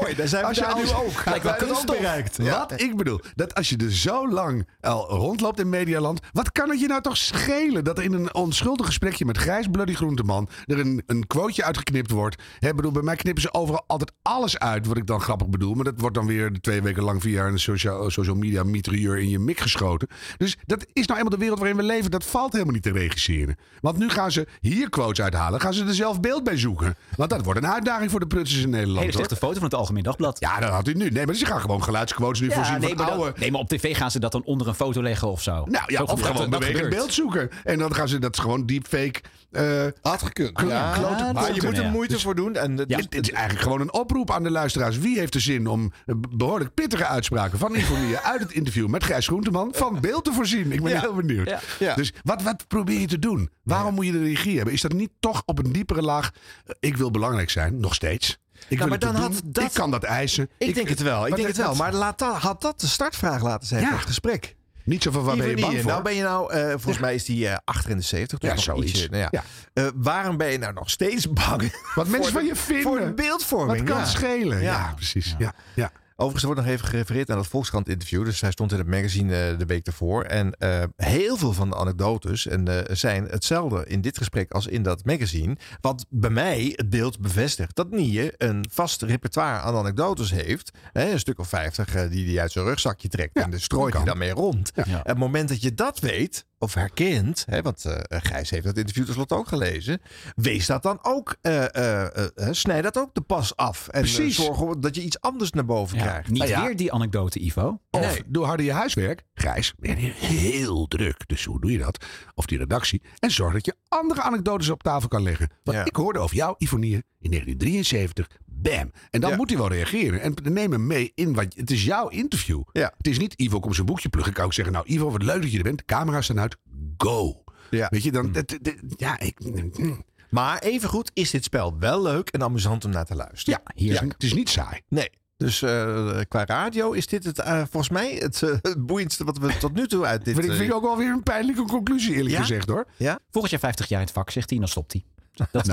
Speaker 2: Mooi, daar zijn we
Speaker 1: als je
Speaker 2: daar nu
Speaker 1: als,
Speaker 2: ook. Lijkt wel
Speaker 1: wij dat ook
Speaker 2: kunststof.
Speaker 1: bereikt.
Speaker 2: Ja.
Speaker 1: Wat ik bedoel, dat als je er zo lang al rondloopt in Medialand... Wat kan het je nou toch schelen dat er in een onschuldig gesprekje met Grijs Bloody Groenteman... er een, een quoteje uitgeknipt wordt. Hè, bedoel, bij mij knippen ze overal altijd alles uit wat ik dan grappig bedoel. Maar dat wordt dan weer twee weken lang via een social, eh, social media mitrailleur in je mik geschoten. Dus dat is nou eenmaal de wereld waarin we leven. Dat valt helemaal niet te regisseren. Want nu gaan ze hier quotes uithalen. Gaan ze er zelf beeld bij zoeken. Want dat wordt een uitdaging voor de prutsers in Nederland.
Speaker 3: Hele
Speaker 1: hoor.
Speaker 3: slechte foto van het Algemeen Dagblad.
Speaker 1: Ja, dat had u nu. Nee, maar ze gaan gewoon geluidsquotes nu voorzien
Speaker 3: nee,
Speaker 1: van
Speaker 3: maar dan-
Speaker 1: oude...
Speaker 3: nee, maar op tv gaan ze dat dan onder een foto leggen of zo.
Speaker 1: Nou
Speaker 3: Zo
Speaker 1: ja, of
Speaker 3: gebeurt- dat
Speaker 1: gewoon bewegend
Speaker 3: gebeurt.
Speaker 1: beeld zoeken. En dan gaan ze dat is gewoon deepfake. eh
Speaker 2: Had gekund.
Speaker 1: Kl- klote
Speaker 3: dat
Speaker 2: maar je
Speaker 3: zou
Speaker 2: moet
Speaker 3: kunnen,
Speaker 2: er
Speaker 3: ja.
Speaker 2: moeite voor doen. En eh, dus dat-
Speaker 1: dit, dit is eigenlijk gewoon een oproep aan de luisteraars. Wie heeft de zin om eh, behoorlijk pittige uitspraken van
Speaker 3: *laughs*
Speaker 1: Ivonie uit het interview met Gijs Groenteman van beeld te voorzien? Ik ben heel benieuwd.
Speaker 3: Ja.
Speaker 2: Ja.
Speaker 1: Dus wat, wat probeer je te doen? Waarom moet je de regie hebben? Is dat niet toch op een diepere laag? eh, Ik wil belangrijk zijn, nog steeds.
Speaker 3: Nou,
Speaker 1: Ik, wil
Speaker 2: maar
Speaker 1: het
Speaker 2: dan
Speaker 1: doen.
Speaker 2: had dat-
Speaker 1: ik kan dat eisen.
Speaker 2: Ik, denk het wel. Ik
Speaker 1: Wat
Speaker 2: denk het
Speaker 1: heeft
Speaker 2: wel.
Speaker 1: dat-
Speaker 2: Maar laat dat, had dat de startvraag laten zijn
Speaker 1: Ja.
Speaker 2: voor het gesprek.
Speaker 1: Niet zo van waar ben je
Speaker 2: Ivo
Speaker 1: bang
Speaker 2: Niehe,
Speaker 1: voor?
Speaker 2: Nou ben je nou, eh, volgens mij is die eh, achter in de 70. Dus
Speaker 1: Ja,
Speaker 2: nog
Speaker 1: zoiets.
Speaker 2: ietsje, nou ja.
Speaker 1: Ja.
Speaker 2: Eh, waarom ben je nou nog steeds bang?
Speaker 1: Wat mensen
Speaker 2: voor
Speaker 1: van
Speaker 2: de-
Speaker 1: je vinden.
Speaker 2: *laughs* Voor de beeldvorming.
Speaker 1: Wat kan
Speaker 2: ja.
Speaker 1: schelen? Ja,
Speaker 2: Ja.
Speaker 1: precies. Ja. Ja.
Speaker 2: Overigens er wordt nog even gerefereerd aan dat Volkskrant interview. Dus hij stond in het magazine eh, de week daarvoor. En eh, heel veel van de anekdotes en, eh, zijn hetzelfde in dit gesprek als in dat magazine. Wat bij mij het beeld bevestigt dat Niehe een vast repertoire aan anekdotes heeft. Hè, een stuk of vijftig eh, die hij uit zijn rugzakje trekt.
Speaker 1: Ja,
Speaker 2: en dus strooit
Speaker 1: dat
Speaker 2: hij
Speaker 1: kan.
Speaker 2: daarmee rond.
Speaker 1: Ja.
Speaker 2: En Het moment dat je dat weet of herkent. Hè, want eh, Gijs heeft dat interview tenslotte ook gelezen. Wees dat dan ook. eh, eh, eh, eh, snij dat ook de pas af. En eh,
Speaker 1: Precies.
Speaker 2: zorg ervoor dat je iets anders naar boven
Speaker 3: Ja,
Speaker 2: krijgt.
Speaker 3: Niet
Speaker 1: Nou ja.
Speaker 3: weer die anekdote, Ivo.
Speaker 1: Of doe harder je huiswerk. Grijs, ben je heel druk. Dus hoe doe je dat? Of die redactie. En zorg dat je andere anekdotes op tafel kan leggen. Want
Speaker 2: Ja.
Speaker 1: ik hoorde over jou, Ivonie, in 1973. Bam. En dan
Speaker 2: Ja.
Speaker 1: moet hij wel reageren. En neem hem mee in. Want het is jouw interview.
Speaker 2: Ja.
Speaker 1: Het is niet Ivo, kom zijn boekje pluggen. Ik kan ook zeggen, nou Ivo, wat leuk dat je er bent. De camera's staan uit. Go.
Speaker 2: Ja. Mm.
Speaker 1: Weet je, dan... dat- dat- dat- ja, ik... mm,
Speaker 2: Maar evengoed is dit spel wel leuk en amusant om naar te luisteren.
Speaker 1: Ja, hier het is niet saai.
Speaker 2: Nee. Dus eh, qua radio is dit het, eh, volgens mij het eh, *laughs* het boeiendste wat we tot nu toe uit dit...
Speaker 1: Vind ik
Speaker 2: eh,
Speaker 1: vind ik ook wel weer een pijnlijke conclusie, eerlijk
Speaker 2: Ja?
Speaker 1: gezegd, hoor.
Speaker 3: Volgend jaar 50 jaar in het vak, zegt hij, en dan stopt hij.
Speaker 1: Nou, dat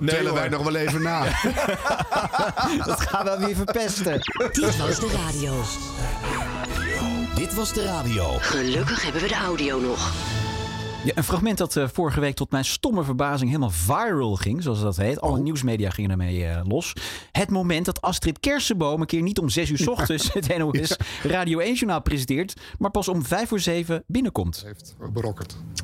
Speaker 2: Nee,
Speaker 1: tellen wij
Speaker 2: hoor.
Speaker 1: nog wel even *laughs* na.
Speaker 9: Dat gaan we weer verpesten.
Speaker 10: Dit was de radio.
Speaker 6: Dit was de radio.
Speaker 4: Gelukkig hebben we de audio nog.
Speaker 3: Ja, een fragment dat eh, vorige week tot mijn stomme verbazing helemaal viral ging, zoals dat heet. Alle nieuwsmedia gingen ermee eh, los. Het moment dat Astrid Kersenboom een keer niet om 6 uur 's ochtends *laughs* het NOS Radio 1-journaal presenteert, maar pas om 5 voor 7 binnenkomt.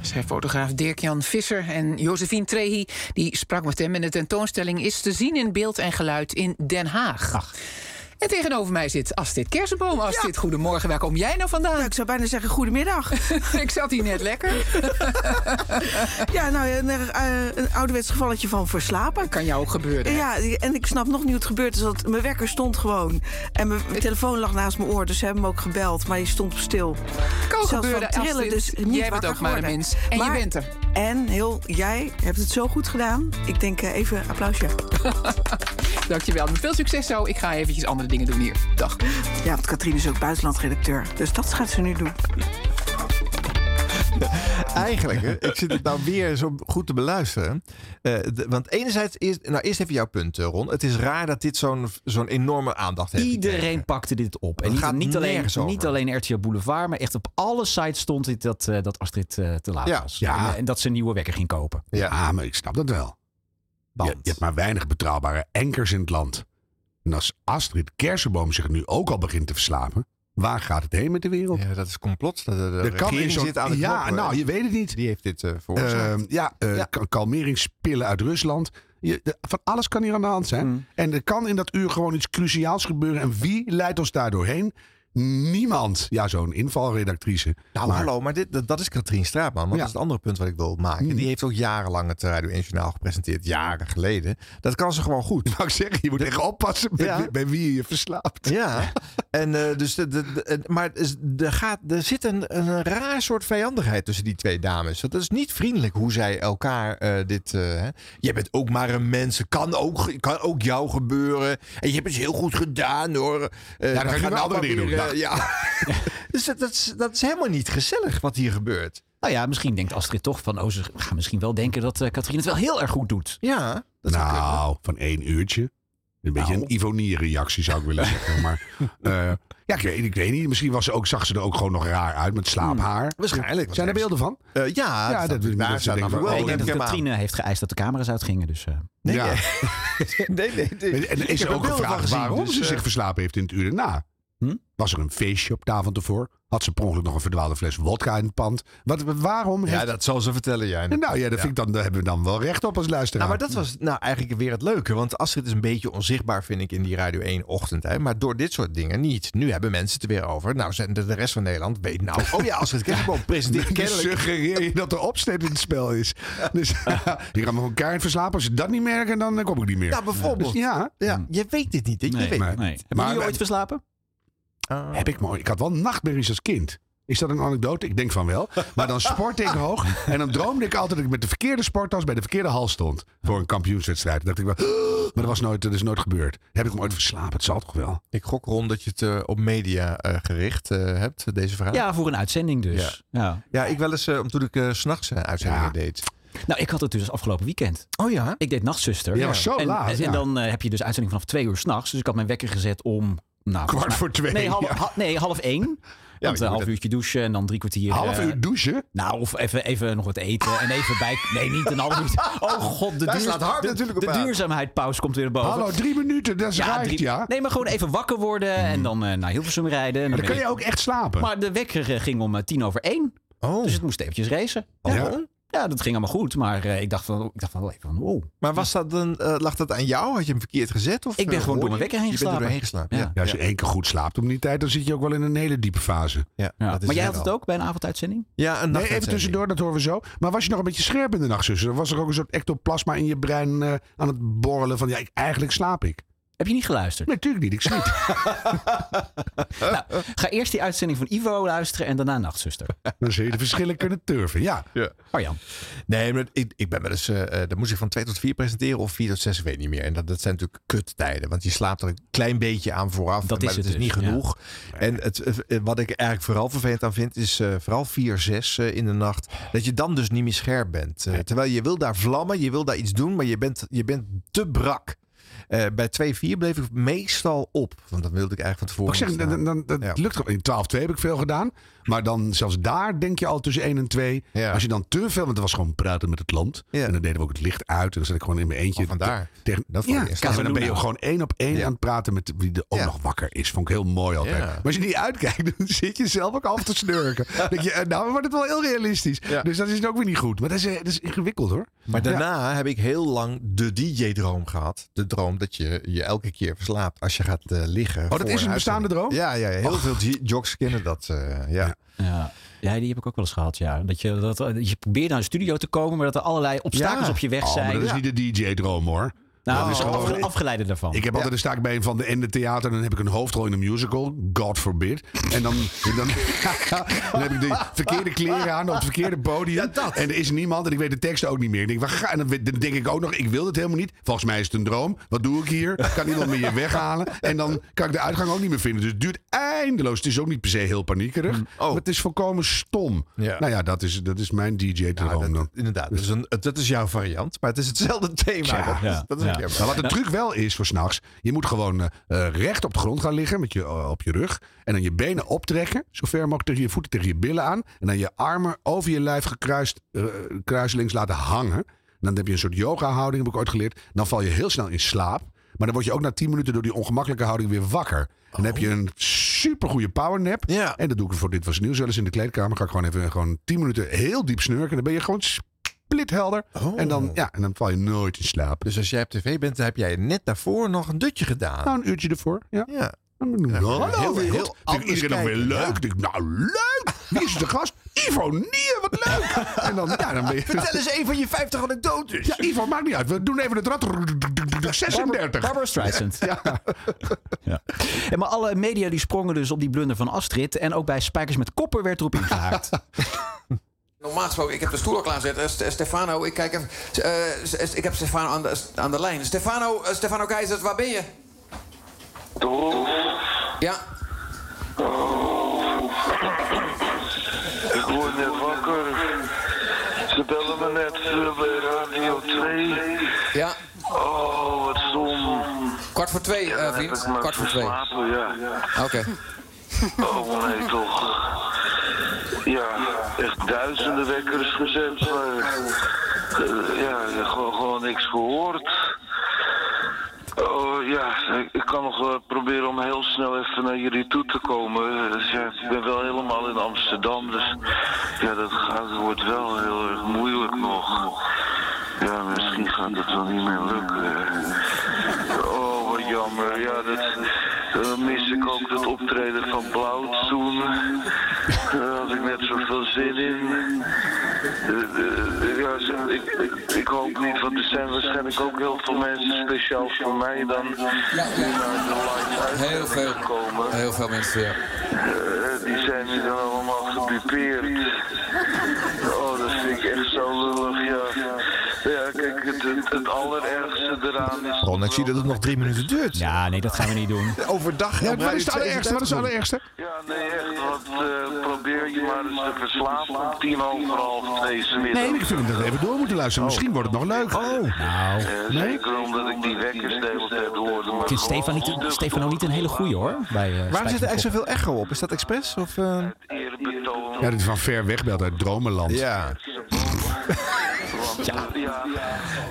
Speaker 7: Zijn fotograaf Dirk-Jan Visser en Josephine Trehi... die sprak met hem en de tentoonstelling is te zien in beeld en geluid in Den Haag. En tegenover mij zit Astrid Kersenboom. Astrid, goedemorgen. Waar kom jij nou vandaan?
Speaker 11: Ik zou bijna zeggen goedemiddag.
Speaker 7: *laughs* ik zat hier net lekker.
Speaker 11: ja, nou, een, eh, een ouderwets gevalletje van verslapen.
Speaker 7: Kan jou ook gebeuren. hè?
Speaker 11: Ja, en ik snap nog niet hoe het gebeurd is. Want mijn wekker stond gewoon. En mijn telefoon lag naast mijn oor. Dus ze hebben hem ook gebeld. Maar je stond op stil.
Speaker 7: kan
Speaker 11: Zelfs
Speaker 7: gebeuren.
Speaker 11: van trillen,
Speaker 7: Astrid.
Speaker 11: dus niet
Speaker 7: jij bent
Speaker 11: wakker
Speaker 7: ook maar een
Speaker 11: geworden.
Speaker 7: mens. En
Speaker 11: Maar-
Speaker 7: je bent er.
Speaker 11: En heel, jij hebt het zo goed gedaan. Ik denk eh, even applausje.
Speaker 7: Dankjewel. Veel succes zo. Ik ga eventjes andere dingen doen hier. Dag.
Speaker 11: Ja, want Katrien is ook buitenlandredacteur. Dus dat gaat ze nu doen.
Speaker 2: Eigenlijk, hè, ik zit het nou weer zo goed te beluisteren. Eh, de- want enerzijds, is, nou eerst even jouw punt eh, Ron. Het is raar dat dit zo'n zo'n enorme aandacht heeft
Speaker 3: Iedereen
Speaker 2: gekregen.
Speaker 3: pakte dit op. En
Speaker 2: Het
Speaker 3: niet,
Speaker 2: gaat
Speaker 3: niet, alleen,
Speaker 2: nergens over.
Speaker 3: niet alleen RTL Boulevard, maar echt op alle sites stond dit dat, eh, dat Astrid eh, te laat
Speaker 2: Ja,
Speaker 3: was.
Speaker 1: ja.
Speaker 3: En, en dat ze een nieuwe wekker ging kopen.
Speaker 2: Ja,
Speaker 1: Ja, Ah, maar ik snap dat wel. Je,
Speaker 2: want-
Speaker 1: je hebt maar weinig betrouwbare enkers in het land. En als Astrid Kersenboom zich nu ook al begint te verslapen, waar gaat het heen met de wereld?
Speaker 2: ja, dat is complot. De, de, de
Speaker 1: Er kan
Speaker 2: regering
Speaker 1: in zo'n-
Speaker 2: zit aan de
Speaker 1: Ja,
Speaker 2: knoppen.
Speaker 1: nou, je weet het niet.
Speaker 2: Die heeft dit eh
Speaker 1: Eh,
Speaker 2: veroorzaakt.
Speaker 1: ja, eh,
Speaker 2: Ja.
Speaker 1: ka- kalmeringspillen uit Rusland. Je, de- van alles kan hier aan de hand zijn. En er kan in dat uur gewoon iets cruciaals gebeuren. En wie leidt ons daar doorheen? Niemand. Ja, zo'n invalredactrice.
Speaker 2: Nou,
Speaker 1: Maar-
Speaker 2: hallo, maar dit, dat, dat is Katrien Straatman. Want
Speaker 1: Ja. Hmm.
Speaker 2: dat is het andere punt wat ik wil maken. Die heeft ook jarenlang het Radio 1 Journaal gepresenteerd. Jaren
Speaker 1: *laughs*
Speaker 2: geleden. Dat kan ze gewoon goed.
Speaker 1: Wou ik zeggen, je moet echt oppassen bij,
Speaker 2: Ja.
Speaker 1: bij wie je je verslaapt.
Speaker 2: Ja, En, eh, dus de, de- de- en- maar er is- er, gaat, er zit een, een raar soort vijandigheid tussen die twee dames. Dat is niet vriendelijk hoe zij elkaar eh, dit... eh, hè. Jij bent ook maar een mens. Kan ook, ge- kan ook jou gebeuren. En je hebt het heel goed gedaan hoor. Eh,
Speaker 1: dan ga
Speaker 2: we
Speaker 1: je nu
Speaker 2: gaan
Speaker 1: maar andere
Speaker 2: nou
Speaker 1: dingen
Speaker 2: maar
Speaker 1: doen.
Speaker 2: weer, eh, ja. *laughs* dus dat, dat, is, dat is helemaal niet gezellig wat hier gebeurt.
Speaker 3: Nou ja, misschien denkt Astrid toch van... Oh, ze gaan misschien wel denken dat eh Katrien het wel heel erg goed doet.
Speaker 2: Ja.
Speaker 1: nou, van één uurtje. Een beetje
Speaker 2: Nou.
Speaker 1: een Ivonie-reactie zou ik
Speaker 2: *laughs*
Speaker 1: willen zeggen. Maar eh, ja, ik weet, ik weet niet. Misschien was ze ook, zag ze er ook gewoon nog raar uit met slaaphaar.
Speaker 2: Hmm, Waarschijnlijk, want
Speaker 1: Zijn er
Speaker 2: hij
Speaker 1: beelden van?
Speaker 2: Eh, ja,
Speaker 1: Ja,
Speaker 2: dat-
Speaker 1: dat,
Speaker 2: daar
Speaker 1: dat, dat ze
Speaker 2: staat
Speaker 1: denken
Speaker 2: dan
Speaker 1: van,
Speaker 2: wel
Speaker 1: oh,
Speaker 3: ik denk
Speaker 2: neem
Speaker 3: dat
Speaker 2: ik hem aan.
Speaker 3: Katrine heeft geëist dat de camera's uitgingen. Dus, eh,
Speaker 2: ja. *laughs*
Speaker 1: ja.
Speaker 2: nee, nee, nee.
Speaker 1: En- En
Speaker 2: Ik
Speaker 1: is
Speaker 2: heb
Speaker 1: er
Speaker 2: er
Speaker 1: ook
Speaker 2: beelden van
Speaker 1: gevraagd
Speaker 2: gezien,
Speaker 1: waarom
Speaker 2: dus,
Speaker 1: ze
Speaker 2: eh, Hmm?
Speaker 1: zich verslapen heeft in het uur erna?
Speaker 3: Hm?
Speaker 1: Was er een feestje op de avond ervoor? Had ze per ongeluk nog een verdwaalde fles wodka in het pand? Wat, waarom?
Speaker 2: Ja,
Speaker 1: heeft-
Speaker 2: dat zal ze vertellen, ja.
Speaker 1: nou ja, dat Vind ik dan, daar hebben we dan wel recht op als luisteraar.
Speaker 2: Nou, maar dat was nou eigenlijk weer het leuke. Want Astrid is een beetje onzichtbaar, vind ik, in die Radio 1-ochtend. Hè? Maar door dit soort dingen niet. Nu hebben mensen het er weer over. Nou, zijn de, de rest van Nederland weet nou... Oh ja, *laughs* Astrid Kerkboom presenteert
Speaker 1: Je
Speaker 2: kennelijk...
Speaker 1: suggereer je dat er opsteep in het spel is. Dus *laughs* je gaat me elkaar in verslapen. Als je dat niet merkt, dan eh, kom ik niet meer.
Speaker 2: Ja, bijvoorbeeld.
Speaker 1: Dus ja,
Speaker 2: Ja, je weet dit niet. hè? Je
Speaker 3: Nee,
Speaker 2: weet
Speaker 1: maar-
Speaker 2: het
Speaker 3: nee.
Speaker 2: niet.
Speaker 3: Hebben
Speaker 1: Maar-
Speaker 3: jullie ooit verslapen?
Speaker 2: Ah.
Speaker 1: heb ik mooi. Ik had wel nachtmerries als kind. Is dat een anekdote? Ik denk van wel. Maar dan sportte ik hoog. En dan droomde ik altijd dat ik met de verkeerde sporttas bij de verkeerde hal stond. Voor een kampioenswedstrijd. Dan dacht ik wel. *gasps* "Oh," Maar dat, was nooit, dat is nooit gebeurd. Heb ik me ooit verslapen? Het zal toch wel?
Speaker 2: Ik gok rond dat je het eh, op media eh, gericht eh, hebt, deze vraag.
Speaker 3: Ja, voor een uitzending dus. Ja.
Speaker 2: Ja, ik wel eens, eh, toen ik eh, 's s'nachts uitzendingen
Speaker 1: Ja.
Speaker 2: deed.
Speaker 3: Nou, ik had het dus afgelopen weekend.
Speaker 2: Oh ja?
Speaker 3: Ik deed nachtzuster.
Speaker 1: Ja, was zo
Speaker 3: en,
Speaker 1: laat,
Speaker 3: En,
Speaker 1: ja.
Speaker 3: dan eh, heb je dus uitzending vanaf twee uur s'nachts. Dus ik had mijn wekker gezet om... Nou, volgens
Speaker 1: Kwart
Speaker 3: mij-
Speaker 1: voor twee.
Speaker 3: Nee, half,
Speaker 1: Ja.
Speaker 3: ha- nee, half één.
Speaker 2: maar je
Speaker 3: Want
Speaker 2: moet
Speaker 3: een half
Speaker 2: het-
Speaker 3: uurtje douchen en dan drie kwartier...
Speaker 1: Half
Speaker 3: eh,
Speaker 1: uur douchen.
Speaker 3: Nou, of even, even nog wat eten en even bij... Nee, niet een half uur. Oh god, de,
Speaker 2: Daar
Speaker 3: duur...
Speaker 2: slaat hard
Speaker 3: de,
Speaker 2: natuurlijk op
Speaker 3: de
Speaker 2: aan.
Speaker 3: duurzaamheidpauze komt weer boven.
Speaker 1: Hallo, drie minuten. Dat is raar,
Speaker 3: drie-
Speaker 1: ja.
Speaker 3: Nee, maar gewoon even wakker worden en dan eh naar Hilversum rijden. En
Speaker 1: Maar dan kun
Speaker 3: ben
Speaker 1: je ook echt slapen.
Speaker 3: ik- Maar de wekker eh, ging om eh, tien over één.
Speaker 2: Oh.
Speaker 3: Dus het moest eventjes racen.
Speaker 1: Ja.
Speaker 3: Oh, Ja, dat ging allemaal goed. Maar eh, ik dacht van, ik dacht van, wel even van, oh. wow.
Speaker 2: Maar was dat dan, eh, lag dat aan jou? Had je hem verkeerd gezet? Of,
Speaker 3: Ik ben
Speaker 2: eh,
Speaker 3: gewoon door
Speaker 2: hoorde
Speaker 3: mijn
Speaker 2: je-
Speaker 3: wekker heen
Speaker 2: Je bent er
Speaker 3: geslapen.
Speaker 2: doorheen geslapen, ja.
Speaker 3: Ja.
Speaker 1: Ja, als je één keer goed slaapt om die tijd, dan zit je ook wel in een hele diepe fase.
Speaker 2: Ja,
Speaker 3: Ja.
Speaker 2: dat is
Speaker 3: Maar jij had
Speaker 2: het
Speaker 3: het
Speaker 2: wel.
Speaker 3: ook bij een avonduitzending?
Speaker 2: Ja, een
Speaker 1: Nee, even tussendoor, dat horen we zo. Maar was je nog een beetje scherp in de nacht, zus? Dan was er ook een soort ectoplasma in je brein eh, aan het borrelen van... ja, ik- eigenlijk slaap ik.
Speaker 3: Heb je niet geluisterd?
Speaker 1: Nee, natuurlijk niet, ik sliep.
Speaker 3: Nou, ga eerst die uitzending van Ivo luisteren en daarna *laughs* Nachtzuster.
Speaker 1: dan zul je de verschillen kunnen turven, ja.
Speaker 3: Arjan.
Speaker 2: Nee, maar ik, ik ben wel eens. eh, eh, dan moest ik van 2 tot 4 presenteren of 4 tot 6, ik weet niet meer. En dat, dat zijn natuurlijk kuttijden. Want je slaapt er een klein beetje aan vooraf.
Speaker 3: Dat
Speaker 2: maar
Speaker 3: is
Speaker 2: dat
Speaker 3: het
Speaker 2: is niet
Speaker 3: dus, ja.
Speaker 2: genoeg. En het, eh, eh, wat ik eigenlijk vooral vervelend aan vind, is eh, vooral 4, 6 eh, in de nacht. Dat je dan dus niet meer scherp bent. Eh, terwijl je wil daar vlammen, je wil daar iets doen, maar je bent, je bent te brak. Eh, bij 2, 4 bleef ik meestal op. Want dat wilde ik eigenlijk van
Speaker 1: Maar
Speaker 2: tevoren.
Speaker 1: ik zeg,
Speaker 2: niet
Speaker 1: dan, dan,
Speaker 2: staan.
Speaker 1: dan- dat
Speaker 2: Ja.
Speaker 1: lukt toch. In 12-2 heb ik veel gedaan. Maar dan zelfs daar denk je al tussen 1 en 2.
Speaker 2: Ja.
Speaker 1: Als je dan te veel... Want het was gewoon praten met het land.
Speaker 2: Ja.
Speaker 1: En dan deden we ook het licht uit. En dan zat ik gewoon in mijn eentje.
Speaker 2: Oh, vandaar.
Speaker 1: te- Tegen,
Speaker 2: Dat vond
Speaker 1: ja,
Speaker 2: ik eerst.
Speaker 1: en dan ben je ook gewoon één op één
Speaker 2: Ja.
Speaker 1: aan het praten met wie er ook
Speaker 2: Ja.
Speaker 1: nog wakker is. Vond ik heel mooi altijd.
Speaker 2: Ja.
Speaker 1: Maar als je niet uitkijkt, *laughs* dan zit je zelf ook af te
Speaker 2: *laughs*
Speaker 1: snurken. Dan denk je, eh, nou wordt het wel heel realistisch.
Speaker 2: Ja.
Speaker 1: Dus dat is ook weer niet goed. Maar dat is, eh, dat is ingewikkeld hoor.
Speaker 2: Maar daarna heb ik heel lang de DJ-droom gehad. De droom dat je je elke keer verslaapt als je gaat eh, liggen.
Speaker 1: dat
Speaker 2: voor
Speaker 1: is een bestaande
Speaker 2: uitzending.
Speaker 1: droom?
Speaker 2: Ja, ja, ja. heel veel j- jocks kennen dat. eh, ja.
Speaker 3: Ja. ja, die heb ik ook wel eens gehad, ja. Dat je, dat, eh, je probeert naar een studio te komen, maar dat er allerlei obstakels
Speaker 2: Ja.
Speaker 3: op je weg
Speaker 1: Oh, maar
Speaker 3: zijn.
Speaker 1: dat is niet de DJ-droom hoor.
Speaker 3: nou,
Speaker 1: dat is
Speaker 3: afge-
Speaker 1: gewoon-
Speaker 3: afgeleide daarvan.
Speaker 1: Ik heb altijd een staak bij een van de in de theater. Dan heb ik een hoofdrol in een musical. God forbid. En dan, *laughs* en dan, dan heb ik de verkeerde kleren aan op het verkeerde podium. En er is niemand en ik weet de teksten ook niet meer. Ik Denk, waar ga, en dan, we- dan denk ik ook nog, ik wil dit helemaal niet. Volgens mij is het een droom. Wat doe ik hier? Kan iemand me hier weghalen? En dan kan ik de uitgang ook niet meer vinden. Dus het duurt eindeloos. Het is ook niet per se heel paniekerig. Maar het is volkomen stom.
Speaker 2: Mm. Oh. Ja.
Speaker 1: Nou ja, dat is, dat is mijn
Speaker 2: Nou,
Speaker 1: DJ-droom
Speaker 2: dat-
Speaker 1: dan.
Speaker 2: inderdaad, dat is, een, dat is jouw variant. Maar het is hetzelfde thema.
Speaker 1: Ja.
Speaker 2: Dat is,
Speaker 3: Ja.
Speaker 2: dat is
Speaker 3: Ja.
Speaker 2: ook jammer.
Speaker 1: Maar Nou, wat de truc wel is voor s'nachts, je moet gewoon eh, eh, recht op de grond gaan liggen met je, eh, op je rug. En dan je benen optrekken, zover mogelijk tegen je voeten, tegen je billen aan. En dan je armen over je lijf gekruist, eh, kruiselings laten hangen. En dan heb je een soort yoga-houding, heb ik ooit geleerd. Dan val je heel snel in slaap. Maar dan word je ook na 10 minuten door die ongemakkelijke houding weer wakker. En dan heb je een supergoeie powernap.
Speaker 2: Oh. Ja.
Speaker 1: En dat doe ik voor dit was nieuws wel eens in de kleedkamer. Ga ik gewoon even gewoon 10 minuten heel diep snurken. En dan ben je gewoon splithelder.
Speaker 2: Oh.
Speaker 1: En, dan, ja, en dan val je nooit in slaap.
Speaker 2: Dus als jij op tv bent, dan heb jij net daarvoor nog een dutje gedaan.
Speaker 1: Nou, een uurtje ervoor. Ja.
Speaker 2: ja.
Speaker 1: Hallo,
Speaker 2: heel-
Speaker 1: wereld.
Speaker 2: heel
Speaker 1: Vind ik
Speaker 2: anders
Speaker 1: iedereen nog weer
Speaker 2: kijken,
Speaker 1: leuk.
Speaker 2: ja.
Speaker 1: Denk, ik, nou, leuk. Wie is de gast? Ivo Nier, wat
Speaker 2: wat leuk!
Speaker 1: *laughs* En dan, ja, dan ben je...
Speaker 2: Vertel eens een van je 50 anekdotes.
Speaker 1: Ja, Ivo, maakt niet uit. We doen even het rad. 36.
Speaker 3: Barbara Streisand.
Speaker 1: *laughs* Ja.
Speaker 3: Ja. En maar alle media die sprongen dus op die blunder van Astrid. En ook bij Spijkers met Koppen werd erop
Speaker 1: *laughs*
Speaker 3: ingehaakt.
Speaker 10: Normaal gesproken, ik heb de stoel al klaarzet. Eh, Ste- Stefano, ik kijk even. eh, S- S- ik heb Stefano aan de, aan de lijn. Stefano, eh, Stefano Keizer, waar ben je? Ja.
Speaker 12: Ik word net wakker. Ze bellen me net eh, bij Radio 2.
Speaker 10: Ja.
Speaker 12: Oh, wat stom.
Speaker 10: Kwart voor twee, eh, vriend. Kwart voor twee.
Speaker 12: Ja.
Speaker 10: Oké.
Speaker 12: Oh nee, toch. Ja, echt duizenden wekkers gezet. Maar, eh, ja, gewoon, gewoon niks gehoord. Oh ja, ik- ik kan nog eh, proberen om heel snel even naar jullie toe te komen. Dus ja, ik ben wel helemaal in Amsterdam, dus ja, dat gaat, wordt wel heel erg moeilijk nog. Ja, misschien gaat het wel niet meer lukken. Oh, wat jammer. Ja, dat, dan mis ik ook dat optreden van Blauw toen. Daar had ik net zoveel zin in. Eh, eh, ja, ze- ik, ik, ik hoop niet, want er zijn waarschijnlijk ook heel veel mensen speciaal voor mij dan die naar de live
Speaker 10: Heel veel. Heel veel mensen, ja.
Speaker 12: eh, die zijn nu dan allemaal gedupeerd. Oh, dat vind ik echt zo lullig, ja. Ja, kijk, het, het, het allerergste eraan is...
Speaker 2: Ron, ik zie dat het nog drie minuten duurt.
Speaker 3: Ja, nee, dat gaan we niet doen.
Speaker 2: Overdag.
Speaker 1: Ja, wat is het allerergste? Wat is het allerergste?
Speaker 12: Ja, nee, echt, wat eh, probeer je maar eens te verslaven om tien over half twee 's middags.
Speaker 1: Nee, ik vind dat we even door moeten luisteren. Misschien wordt het nog leuk. Oh,
Speaker 3: nou.
Speaker 12: Eh, Zeker omdat ik die wekkers de hele tijd hoorde.
Speaker 3: Ik
Speaker 12: Maar
Speaker 3: vind Stefan niet, Stefano niet een hele goeie hoor. Bij, eh,
Speaker 2: Waarom
Speaker 3: Spijkers
Speaker 2: zit er
Speaker 3: met
Speaker 2: echt
Speaker 3: Koppen.
Speaker 2: zoveel echo op? Is dat expres? Of, eh?
Speaker 1: Ja, dit is van ver weg belt uit Dromenland.
Speaker 2: Ja.
Speaker 12: eh, ja.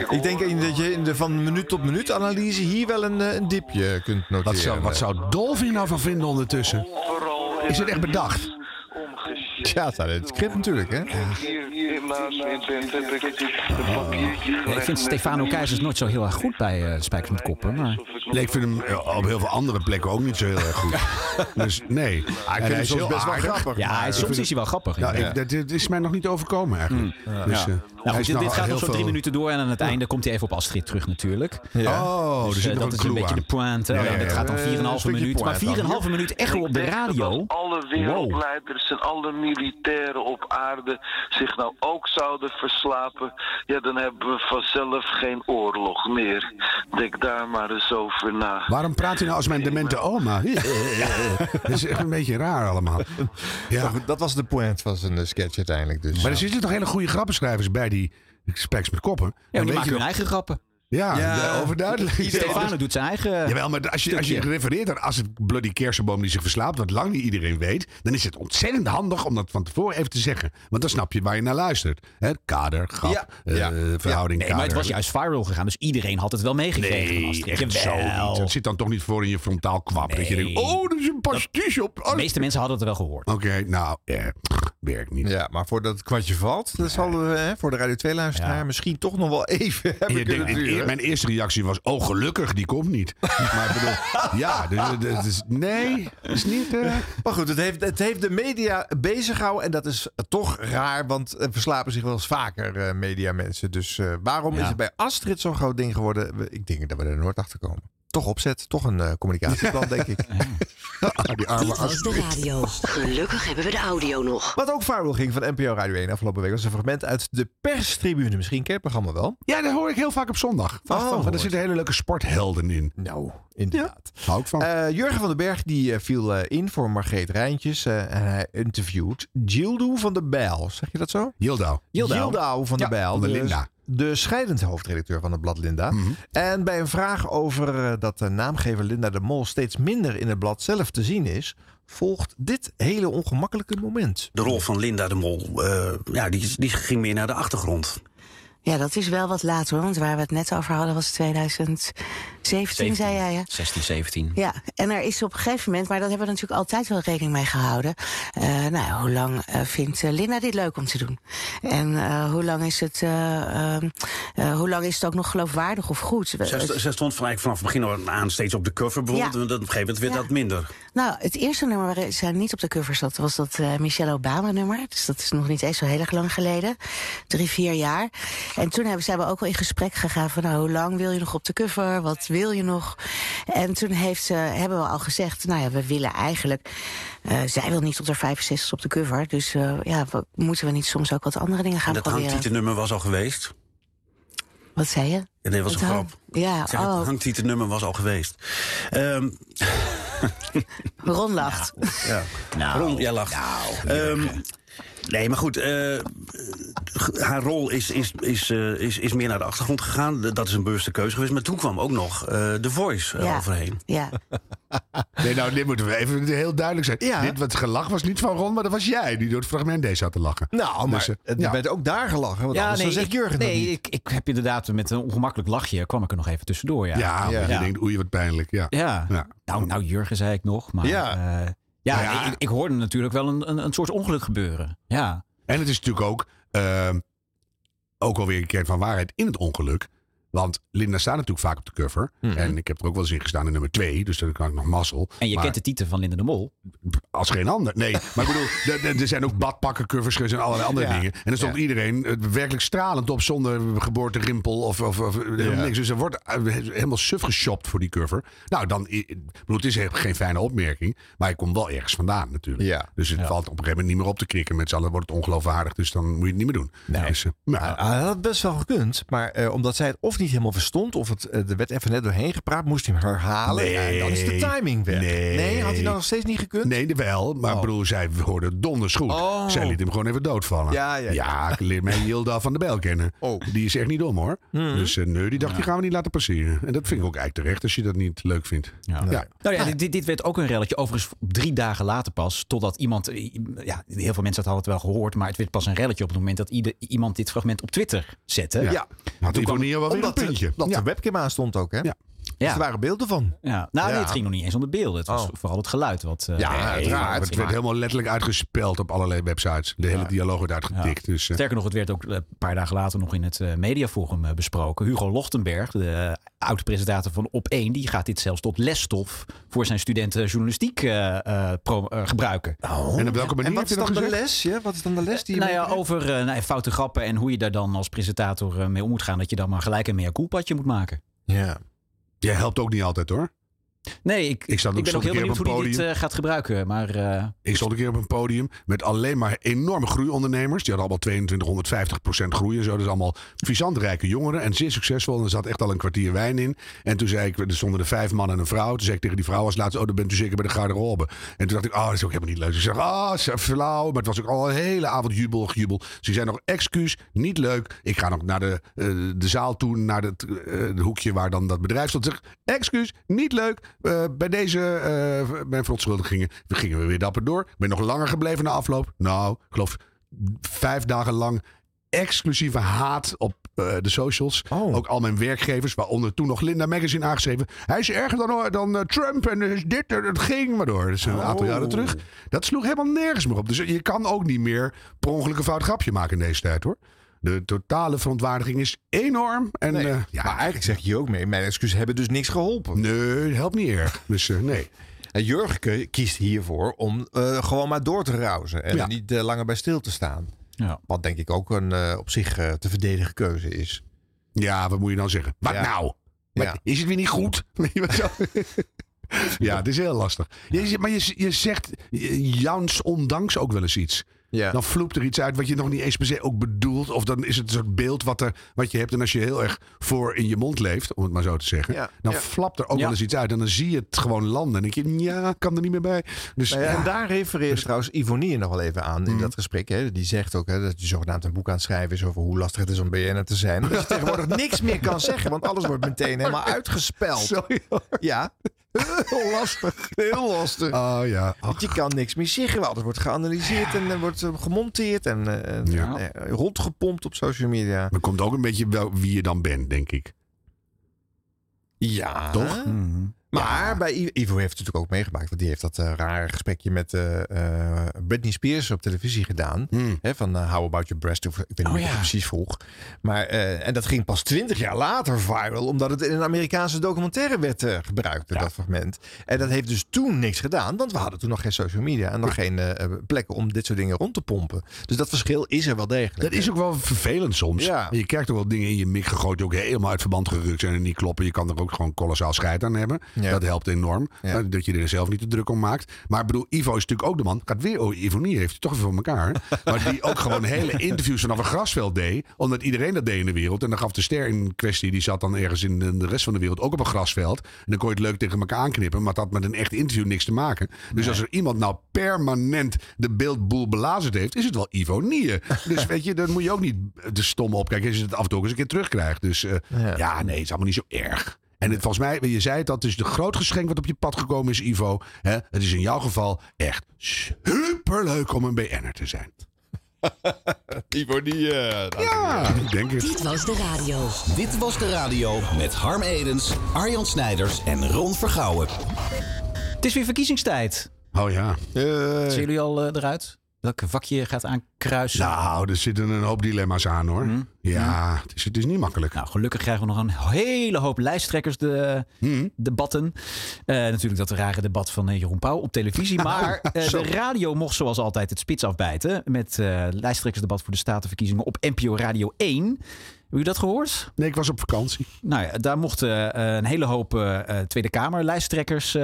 Speaker 2: Ik denk in dat je in de van minuut tot minuut analyse hier wel een, eh, een dipje kunt noteren.
Speaker 1: Wat zou, wat zou Dolphy nou van vinden ondertussen? Is het echt bedacht?
Speaker 2: Ja, het staat in het script natuurlijk, hè?
Speaker 12: Hier, hier naast me in bed heb ik een papiertje
Speaker 3: Ja, ik
Speaker 12: gelegd
Speaker 3: vind
Speaker 12: met
Speaker 3: Stefano
Speaker 12: een-
Speaker 3: Keizers nooit zo heel erg goed bij eh, Spijkers met Koppen. Maar...
Speaker 1: Nee, ik vind hem eh, op heel veel andere plekken ook niet zo heel erg
Speaker 3: *laughs*
Speaker 1: goed. Dus nee. En
Speaker 2: vind hem soms best wel grappig,
Speaker 3: Ja, hij-
Speaker 1: maar ik
Speaker 3: soms
Speaker 1: vind
Speaker 3: is hij wel grappig,
Speaker 1: Nou,
Speaker 3: ja.
Speaker 1: ik- dat, dit is mij nog niet overkomen eigenlijk. Dus,
Speaker 3: Ja.
Speaker 1: eh,
Speaker 3: Nou,
Speaker 1: hij
Speaker 3: goed,
Speaker 1: is
Speaker 3: dit,
Speaker 1: nog
Speaker 3: dit gaat nog
Speaker 1: heel
Speaker 3: zo'n
Speaker 1: veel-
Speaker 3: drie minuten door en aan het einde komt hij even op Astrid terug natuurlijk.
Speaker 1: Ja. Oh, er
Speaker 3: dus,
Speaker 1: zit
Speaker 3: eh,
Speaker 1: nog
Speaker 3: dat
Speaker 1: een
Speaker 3: is een
Speaker 1: clue
Speaker 3: beetje
Speaker 1: aan.
Speaker 3: de pointe.
Speaker 1: Ja,
Speaker 3: Ja,
Speaker 1: ja, ja.
Speaker 3: Dat gaat dan
Speaker 1: Eh,
Speaker 3: 4,5
Speaker 1: een stukje
Speaker 3: minuut. Maar
Speaker 1: pointe dan.
Speaker 3: 4,5 minuut echo op de radio.
Speaker 12: Alle wereldleiders en alle militairen op aarde zich nou ook zouden verslapen, ja, dan hebben we vanzelf geen oorlog meer. Denk daar maar eens over na.
Speaker 1: Waarom praat u nou als mijn demente oma?
Speaker 3: *laughs*
Speaker 1: Dat is echt een beetje raar allemaal. Ja.
Speaker 2: Maar goed, Dat was de point van zijn eh, sketch uiteindelijk. Dus.
Speaker 1: Maar er zitten toch hele goede grappenschrijvers bij die speks met koppen.
Speaker 3: Ja,
Speaker 1: Dan
Speaker 3: die
Speaker 1: weet
Speaker 3: maken
Speaker 1: je
Speaker 3: hun
Speaker 1: nog-
Speaker 3: eigen grappen.
Speaker 1: Ja, Ah, ja, overduidelijk.
Speaker 3: Stefano doet zijn eigen.
Speaker 1: Jawel, maar als je, als je
Speaker 3: stukje.
Speaker 1: refereert aan als het bloody kersenboom die zich verslaapt, wat lang niet iedereen weet, dan is het ontzettend handig om dat van tevoren even te zeggen. Want dan snap je waar je naar luistert. Hè, kader, grap,
Speaker 3: Ja.
Speaker 1: eh, verhouding,
Speaker 3: Nee, maar het
Speaker 1: kader.
Speaker 3: was juist viral gegaan. Dus iedereen had het wel meegekregen. van
Speaker 1: Nee,
Speaker 3: Astrid.
Speaker 1: echt zo
Speaker 3: Jawel.
Speaker 1: niet. Dat zit dan toch niet voor in je frontaal kwap. Dat je denkt, oh, er is een pastiche op.
Speaker 3: De meeste mensen hadden het wel gehoord.
Speaker 1: Oké, nou, eh, werkt niet.
Speaker 2: Ja, maar voordat het kwartje valt, dan zal we hè, voor de Radio 2-luisteraar misschien toch nog wel even *laughs*
Speaker 1: En
Speaker 2: hebben
Speaker 1: je
Speaker 2: kunnen
Speaker 1: denkt, in-
Speaker 2: duren.
Speaker 1: mijn eerste reactie was, oh gelukkig, die komt niet. *laughs* maar ik bedoel, ja, dus, het- het is- nee, het is niet... eh,
Speaker 2: Maar goed, het heeft, het heeft de media bezig gehouden en dat is eh, toch raar, want er verslapen zich wel eens vaker eh, mediamensen. Dus eh, waarom
Speaker 1: Ja.
Speaker 2: is het bij Astrid zo'n groot ding geworden? We- Ik denk dat we er nooit achter komen. Toch opzet, toch een eh, communicatieplan,
Speaker 1: *laughs*
Speaker 2: denk ik.
Speaker 1: die
Speaker 6: Nou,
Speaker 1: arme
Speaker 4: was de radio. Gelukkig hebben we de audio nog.
Speaker 2: Wat ook viral ging van NPO Radio 1 afgelopen week was een fragment uit de perstribune. Misschien ken je het programma wel.
Speaker 1: Ja, dat hoor ik heel vaak op zondag.
Speaker 3: Oh.
Speaker 1: want er zitten hele leuke sporthelden in.
Speaker 2: Nou, inderdaad.
Speaker 1: Hou ik van.
Speaker 2: Eh, Jurgen van den Berg die eh, viel eh, in voor Margreet Rijntjes eh, en hij interviewt Gildo van de Bijl. Zeg je dat zo?
Speaker 1: Yildau.
Speaker 3: Jildau.
Speaker 2: Gildo van de
Speaker 1: Ja,
Speaker 2: Bijl.
Speaker 1: van de
Speaker 2: dus
Speaker 1: Linda.
Speaker 2: De scheidend hoofdredacteur van het blad Linda. En bij een vraag over eh, dat de naamgever Linda de Mol steeds minder in het blad zelf te zien is, volgt dit hele ongemakkelijke moment.
Speaker 13: De rol van Linda de Mol, eh, ja, die, die ging meer naar de achtergrond.
Speaker 14: Ja, dat is wel wat later, hoor. Want waar we het net over hadden was 2006 17, zei jij, hè?
Speaker 13: 16, 17.
Speaker 14: Ja, en er is op een gegeven moment, maar dat hebben we natuurlijk altijd wel rekening mee gehouden. eh, nou, hoe lang eh, vindt eh, Linda dit leuk om te doen? En eh, hoe lang is het, eh, ehm, eh, hoe lang is het ook nog geloofwaardig of goed? We-
Speaker 13: Zij,
Speaker 14: het-
Speaker 13: st- zij stond van eigenlijk vanaf het begin aan steeds op de cover bijvoorbeeld.
Speaker 14: Ja.
Speaker 13: En dat- op een gegeven moment werd
Speaker 14: Ja.
Speaker 13: dat minder.
Speaker 14: Nou, het eerste nummer waar zij niet op de cover zat, was dat eh, Michelle Obama-nummer. Dus dat is nog niet eens zo heel erg lang geleden. Drie, vier jaar. En toen hebben, zijn we ook wel in gesprek gegaan van, nou, hoe lang wil je nog op de cover? Wat wil je nog? En toen heeft ze, hebben we al gezegd, nou ja, we willen eigenlijk, eh, zij wil niet tot haar 65 op de cover. Dus eh, ja, we- moeten we niet soms ook wat andere dingen gaan
Speaker 13: En dat
Speaker 14: proberen?
Speaker 13: hangtitennummer was al geweest.
Speaker 14: Wat zei je?
Speaker 13: En nee, was
Speaker 14: Het
Speaker 13: een
Speaker 14: hang-
Speaker 13: grap.
Speaker 14: Ja,
Speaker 13: Ik zeg,
Speaker 14: oh.
Speaker 13: Het hangtitennummer was al geweest. Ehm,
Speaker 14: Ron lacht.
Speaker 13: ja.
Speaker 14: Nou,
Speaker 13: Ron, jij lacht. Ehm, nee, maar goed. eh, g- haar rol is, is, is, eh, is, is meer naar de achtergrond gegaan. D- Dat is een bewuste keuze geweest. Maar toen kwam ook nog eh, The Voice eh,
Speaker 14: Ja.
Speaker 13: overheen.
Speaker 14: Ja.
Speaker 1: Nee, nou, dit moeten we even heel duidelijk zijn. Dit wat gelach was niet van Ron, maar dat was jij die door het fragment deze had te lachen.
Speaker 2: Nou, maar
Speaker 1: eh,
Speaker 2: het werd ook daar gelachen. Want anders dan zegt
Speaker 3: ik,
Speaker 2: Jurgen dat
Speaker 3: nee,
Speaker 2: niet.
Speaker 3: Ik, ik heb inderdaad met een ongemakkelijk lachje kwam ik er nog even tussendoor. Ja,
Speaker 1: Ja, omdat je
Speaker 3: ja.
Speaker 1: denkt, oei, wat pijnlijk. Ja.
Speaker 3: Ja. Nou, nou, Jurgen zei ik nog, maar
Speaker 1: Ja.
Speaker 3: ja, ja,
Speaker 1: Nou ja.
Speaker 3: nee, Ik, ik hoorde natuurlijk wel een, een, een soort ongeluk gebeuren. Ja.
Speaker 1: En het is natuurlijk ook, ehm ook alweer een kern van waarheid in het ongeluk. Want Linda staat natuurlijk vaak op de cover. En ik heb er ook wel eens in gestaan in nummer 2. Dus dan kan ik nog mazzel.
Speaker 3: Mhm. En je
Speaker 1: Maar-
Speaker 3: kent de titel van Linda de Mol.
Speaker 1: Als geen ander.
Speaker 2: *laughs*
Speaker 1: Nee, maar ik bedoel, er- er- er zijn ook badpakkencovers geweest en allerlei andere
Speaker 3: Ja.
Speaker 1: dingen. En er stond
Speaker 2: Ja.
Speaker 1: iedereen eh, werkelijk stralend op zonder geboorterimpel of, of, of helemaal
Speaker 2: Ja.
Speaker 1: niks. Dus er wordt eh, helemaal suf geshopt voor die cover. Nou, dan, ik bedoel, het is he- geen fijne opmerking, maar ik kom wel ergens vandaan natuurlijk. Dus het valt op een gegeven moment niet meer op te knikken. Met z'n allen wordt het ongeloofwaardig, dus dan moet je het niet meer doen. Dus, eh, nou,
Speaker 2: Hij Ah, had best wel gekund, maar eh, omdat zij het of niet helemaal verstond... of het, eh, er werd even net doorheen gepraat, moest hij hem herhalen. Ja, en dan is de timing weg.
Speaker 1: Nee.
Speaker 2: had hij dan nog steeds niet gekund?
Speaker 1: Nee, wel. Maar ik bedoel, zij hoorde donders goed.
Speaker 2: Oh.
Speaker 1: Zij liet hem gewoon even doodvallen.
Speaker 2: Ja, ja, Oh. ja.
Speaker 1: ik leer mij Hilda van de Bijl kennen. Die is echt niet dom, hoor.
Speaker 2: Hmm.
Speaker 1: Dus eh, nee, die dacht, die gaan we niet laten passeren. En dat vind ik ook eigenlijk terecht, als je dat niet leuk vindt. Ja.
Speaker 3: Nou ja, dit, dit werd ook een relletje. Overigens drie dagen later pas, totdat iemand... eh, Ja, heel veel mensen hadden het wel gehoord, maar het werd pas een relletje op het moment dat ieder, iemand dit fragment op Twitter zette.
Speaker 2: Ja.
Speaker 1: Had Ivonie wel weer een
Speaker 2: Omdat de-
Speaker 1: puntje.
Speaker 2: Dat de webcam aan stond ook, hè? Ja.
Speaker 3: Ja.
Speaker 2: er waren beelden van.
Speaker 3: Ja. Nou, nee,
Speaker 2: Ja.
Speaker 3: het ging nog niet eens om de beelden. Het was
Speaker 2: Oh.
Speaker 3: vooral het geluid wat... eh,
Speaker 1: Ja,
Speaker 3: eh,
Speaker 1: uiteraard. Het
Speaker 3: wat-
Speaker 1: werd helemaal letterlijk uitgespeld op allerlei websites. De hele dialoog werd uitgetikt. Dus, eh,
Speaker 3: Sterker nog, het werd ook eh, een paar dagen later nog in het eh, mediaforum eh, besproken. Hugo Lochtenberg, de eh, oud-presentator van Op1, die gaat dit zelfs tot lesstof voor zijn studenten journalistiek eh, eh, pro- eh, gebruiken.
Speaker 1: Oh. en op welke manier
Speaker 2: en wat
Speaker 1: heb je dat
Speaker 2: is dan de
Speaker 1: gezegd?
Speaker 2: les? Ja? Wat is dan de les die je
Speaker 3: Nou ja,
Speaker 2: meekrijgt?
Speaker 3: over eh, nou, foute grappen en hoe je daar dan als presentator eh, mee om moet gaan. Dat je dan maar gelijk een mea culpaatje moet maken.
Speaker 2: Ja.
Speaker 1: Jij helpt ook niet altijd, hoor.
Speaker 3: Nee, ik,
Speaker 1: Ik
Speaker 3: ik,
Speaker 1: zat ook
Speaker 3: ben ook
Speaker 1: soms
Speaker 3: heel
Speaker 1: een keer
Speaker 3: benieuwd hoe
Speaker 1: op een
Speaker 3: hij dit
Speaker 1: podium.
Speaker 3: eh, gaat gebruiken. Maar eh,
Speaker 1: Ik stond een keer op een podium met alleen maar enorme groeiondernemers. Die hadden allemaal 2250 procent groei en zo. Dus allemaal visant rijke jongeren en zeer succesvol. En er zat echt al een kwartier wijn in. En toen zei ik, er stonden er vijf mannen en een vrouw. Toen zei ik tegen die vrouw als laatste, oh, dan bent u zeker bij de garderobe. En toen dacht ik, oh, dat is ook helemaal niet leuk. Dus ik zeg, ah, ze flauw. Maar het was ook al een hele avond jubel, gejubel. Dus ik zei nog, excuus, niet leuk. Ik ga nog naar de, eh, de zaal toe, naar het eh, de hoekje waar dan dat bedrijf stond. Zeg, excuus, niet leuk. Eh, bij deze, eh, mijn verontschuldigingen, we gingen we weer dapper door. Ik ben nog langer gebleven na afloop. Nou, ik geloof vijf dagen lang exclusieve haat op eh, de socials. Ook al mijn werkgevers, waaronder toen nog Linda Magazine aangeschreven. Hij is erger dan, dan eh, Trump en is dit en het ging maar door. Dat is een aantal jaren terug. Dat sloeg helemaal nergens meer op. Dus je kan ook niet meer per ongeluk een fout grapje maken in deze tijd hoor. De totale verontwaardiging is enorm. En,
Speaker 2: Nee,
Speaker 1: eh,
Speaker 2: maar eigenlijk zeg je ook mee, mijn excuses hebben dus niks geholpen.
Speaker 1: Nee, helpt niet erg. Dus nee.
Speaker 2: En Jurgen ke- kiest hiervoor om eh, gewoon maar door te rauzen en
Speaker 1: Ja.
Speaker 2: niet eh, langer bij stil te staan.
Speaker 3: Ja.
Speaker 2: Wat denk ik ook een eh, op zich eh, te verdedigen keuze is.
Speaker 1: Ja, wat moet je dan zeggen? Wat nou? Wat- Is het weer niet goed? *laughs* Weet je wat zo? ja, het is heel lastig. Je- je- maar je, je zegt je- Jans ondanks ook wel eens iets.
Speaker 2: Ja.
Speaker 1: Dan vloept er iets uit wat je nog niet eens per se ook bedoelt. Of dan is het een soort beeld wat, er, wat je hebt. En als je heel erg voor in je mond leeft, om het maar zo te zeggen.
Speaker 2: Ja.
Speaker 1: Dan
Speaker 2: Ja.
Speaker 1: flapt er ook
Speaker 2: Ja.
Speaker 1: wel eens iets uit. En dan zie je het gewoon landen. En denk je, ja, kan er niet meer bij. Dus
Speaker 2: Nou ja, En
Speaker 1: ja. *laughs*
Speaker 2: daar Mm. refereert trouwens Ivonie nog wel even aan in dat gesprek. Hè. Die zegt ook hè, dat je zogenaamd een boek aan het schrijven is over hoe lastig het is om BN'er te zijn. *laughs* Dat je tegenwoordig niks meer kan zeggen, want alles wordt meteen helemaal *laughs* uitgespeld. Ja, heel lastig. Heel lastig.
Speaker 1: Oh ja.
Speaker 2: Want je kan niks meer zeggen. Alles wordt geanalyseerd en eh, wordt eh, gemonteerd en eh, en, eh, rondgepompt op social media.
Speaker 1: Maar komt ook een beetje wel wie je dan bent, denk ik.
Speaker 2: Ja.
Speaker 1: Toch?
Speaker 2: Maar bij I- Ivo heeft het natuurlijk ook meegemaakt. Want die heeft dat eh, rare gesprekje met eh, eh, Britney Spears op televisie gedaan.
Speaker 1: Hm.
Speaker 2: Hè, van eh, How About Your Breast. Of, ik weet niet meer of ik het precies vroeg. Maar, eh, en dat ging pas twintig jaar later viral. Omdat het in een Amerikaanse documentaire werd eh, gebruikt. Dat fragment. En dat heeft dus toen niks gedaan. Want we hadden toen nog geen social media. En nog geen eh, plekken om dit soort dingen rond te pompen. Dus dat verschil is er wel degelijk.
Speaker 1: Dat is ook wel vervelend soms.
Speaker 2: Ja.
Speaker 1: Je krijgt ook wel dingen in je mik gegooid die ook helemaal uit verband gerukt zijn en niet kloppen. Je kan er ook gewoon kolossaal scheid aan hebben. Dat helpt enorm. Eh, Dat je er zelf niet te druk om maakt. Maar ik bedoel, Ivo is natuurlijk ook de man. Gaat weer, oh, Ivo Nier heeft het toch even voor elkaar. maar die ook gewoon hele interviews vanaf een grasveld deed. Omdat iedereen dat deed in de wereld. En dan gaf de ster in kwestie, die zat dan ergens in de de rest van de wereld ook op een grasveld. En dan kon je het leuk tegen elkaar aanknippen. Maar dat had met een echt interview niks te maken. Dus als er iemand nou permanent de beeldboel belazerd heeft, is het wel Ivo Nieën. Dus weet je, daar moet je ook niet de stom op kijken als je het af en toe ook eens een keer terugkrijgt. Dus eh, ja. nee, het is allemaal niet zo erg. En het, volgens mij, je zei het, dat is de groot geschenk wat op je pad gekomen is, Ivo. Hè? Het is in jouw geval echt superleuk om een BN'er te zijn.
Speaker 2: Ivo die. Ah.
Speaker 1: ja, ik denk het.
Speaker 6: Dit was de radio. Dit was de radio met Harm Edens, Arjan Snijders en Ron Vergouwen.
Speaker 3: Het is weer verkiezingstijd.
Speaker 1: Oh ja.
Speaker 3: Zijn jullie al eh, eruit? Welke vakje gaat aankruisen?
Speaker 1: Nou, er zitten een hoop dilemma's aan hoor.
Speaker 2: Mhm.
Speaker 1: Ja, het is, het is niet makkelijk.
Speaker 3: Nou, gelukkig krijgen we nog een hele hoop lijsttrekkers de,
Speaker 1: Hmm.
Speaker 3: debatten. Eh, natuurlijk dat rare debat van eh, Jeroen Pauw op
Speaker 1: *laughs*
Speaker 3: televisie.
Speaker 1: Nou,
Speaker 3: Maar eh,
Speaker 1: zo.
Speaker 3: de radio mocht zoals altijd het spits afbijten. Met eh lijsttrekkersdebat voor de Statenverkiezingen op NPO Radio 1. Hebben jullie dat gehoord?
Speaker 1: Nee, ik was op vakantie.
Speaker 3: Nou ja, daar mochten eh, een hele hoop eh, eh, Tweede Kamer lijsttrekkers... eh,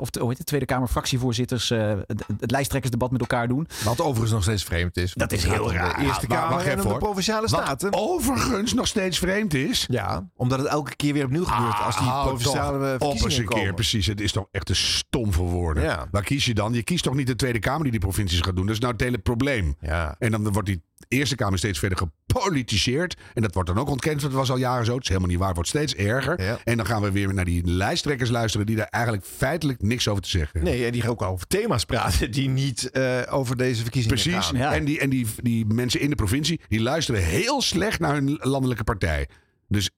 Speaker 3: of de, hoe heet het? Tweede Kamer fractievoorzitters eh, het, het lijsttrekkersdebat met elkaar doen.
Speaker 2: Wat overigens nog steeds vreemd is.
Speaker 3: Dat is heel raar.
Speaker 2: De Eerste
Speaker 3: Maar
Speaker 1: Nou,
Speaker 2: Kamer
Speaker 3: wacht
Speaker 2: en
Speaker 3: even,
Speaker 2: dan de
Speaker 3: hoor.
Speaker 2: Provinciale
Speaker 3: Wat
Speaker 2: Staten.
Speaker 1: overigens nog steeds vreemd is.
Speaker 2: Ja, omdat het elke keer weer opnieuw gebeurt als die
Speaker 1: Hou
Speaker 2: provinciale
Speaker 1: Ah, toch
Speaker 2: verkiezingen
Speaker 1: op eens een
Speaker 2: komen.
Speaker 1: keer, precies. Het is toch echt te stom voor woorden.
Speaker 2: Ja.
Speaker 1: Waar kies je dan? Je kiest toch niet de Tweede Kamer die die provincies gaat doen? Dat is nou het hele probleem. En dan wordt die Eerste Kamer steeds verder gepolitiseerd. En dat wordt dan ook ontkend, want het was al jaren zo. Het is helemaal niet waar, het wordt steeds erger. En dan gaan we weer naar die lijsttrekkers luisteren... die daar eigenlijk feitelijk niks over te zeggen hebben.
Speaker 2: Nee, en die gaan ook over thema's praten die niet eh, over deze verkiezingen
Speaker 1: Precies.
Speaker 2: gaan.
Speaker 1: En, die, en die, die mensen in de provincie die luisteren heel slecht naar hun landelijke partij. Dus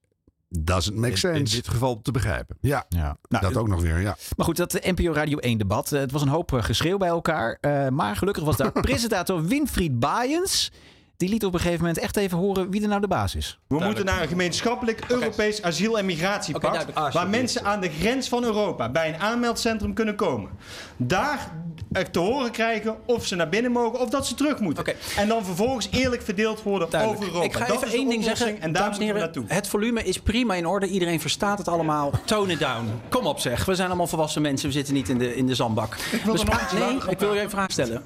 Speaker 1: doesn't make
Speaker 2: in
Speaker 1: sense.
Speaker 2: dit geval te begrijpen.
Speaker 1: Ja,
Speaker 3: Nou,
Speaker 1: dat ook nog weer, ja.
Speaker 3: Maar goed, dat NPO Radio 1 debat. eh, Het was een hoop eh, geschreeuw bij elkaar. Eh, maar gelukkig
Speaker 15: *laughs*
Speaker 3: was daar presentator Winfried Baaiens. Die liet op een gegeven moment echt even horen wie er nou de baas is.
Speaker 16: We moeten naar een gemeenschappelijk Europees asiel- en migratiepact.
Speaker 3: duidelijk. Ah,
Speaker 16: waar
Speaker 3: sorry.
Speaker 16: mensen aan de grens van Europa bij een aanmeldcentrum kunnen komen. Daar eh, te horen krijgen of ze naar binnen mogen of dat ze terug moeten. En dan vervolgens eerlijk verdeeld worden over Europa.
Speaker 15: Ik ga
Speaker 16: dat
Speaker 15: even
Speaker 16: is de
Speaker 15: één ding
Speaker 16: oplossing
Speaker 15: zeggen.
Speaker 16: En daar
Speaker 15: dames en
Speaker 16: moeten we
Speaker 15: heren,
Speaker 16: naartoe.
Speaker 15: Het volume is prima in orde. Iedereen verstaat het allemaal. Tone it down. Kom op zeg. We zijn allemaal volwassen mensen. We zitten niet in de, in de zandbak.
Speaker 16: wil
Speaker 15: We
Speaker 16: er
Speaker 15: spra-
Speaker 16: nog iets
Speaker 15: nee,
Speaker 16: langer op
Speaker 15: ik wil je even een vraag stellen.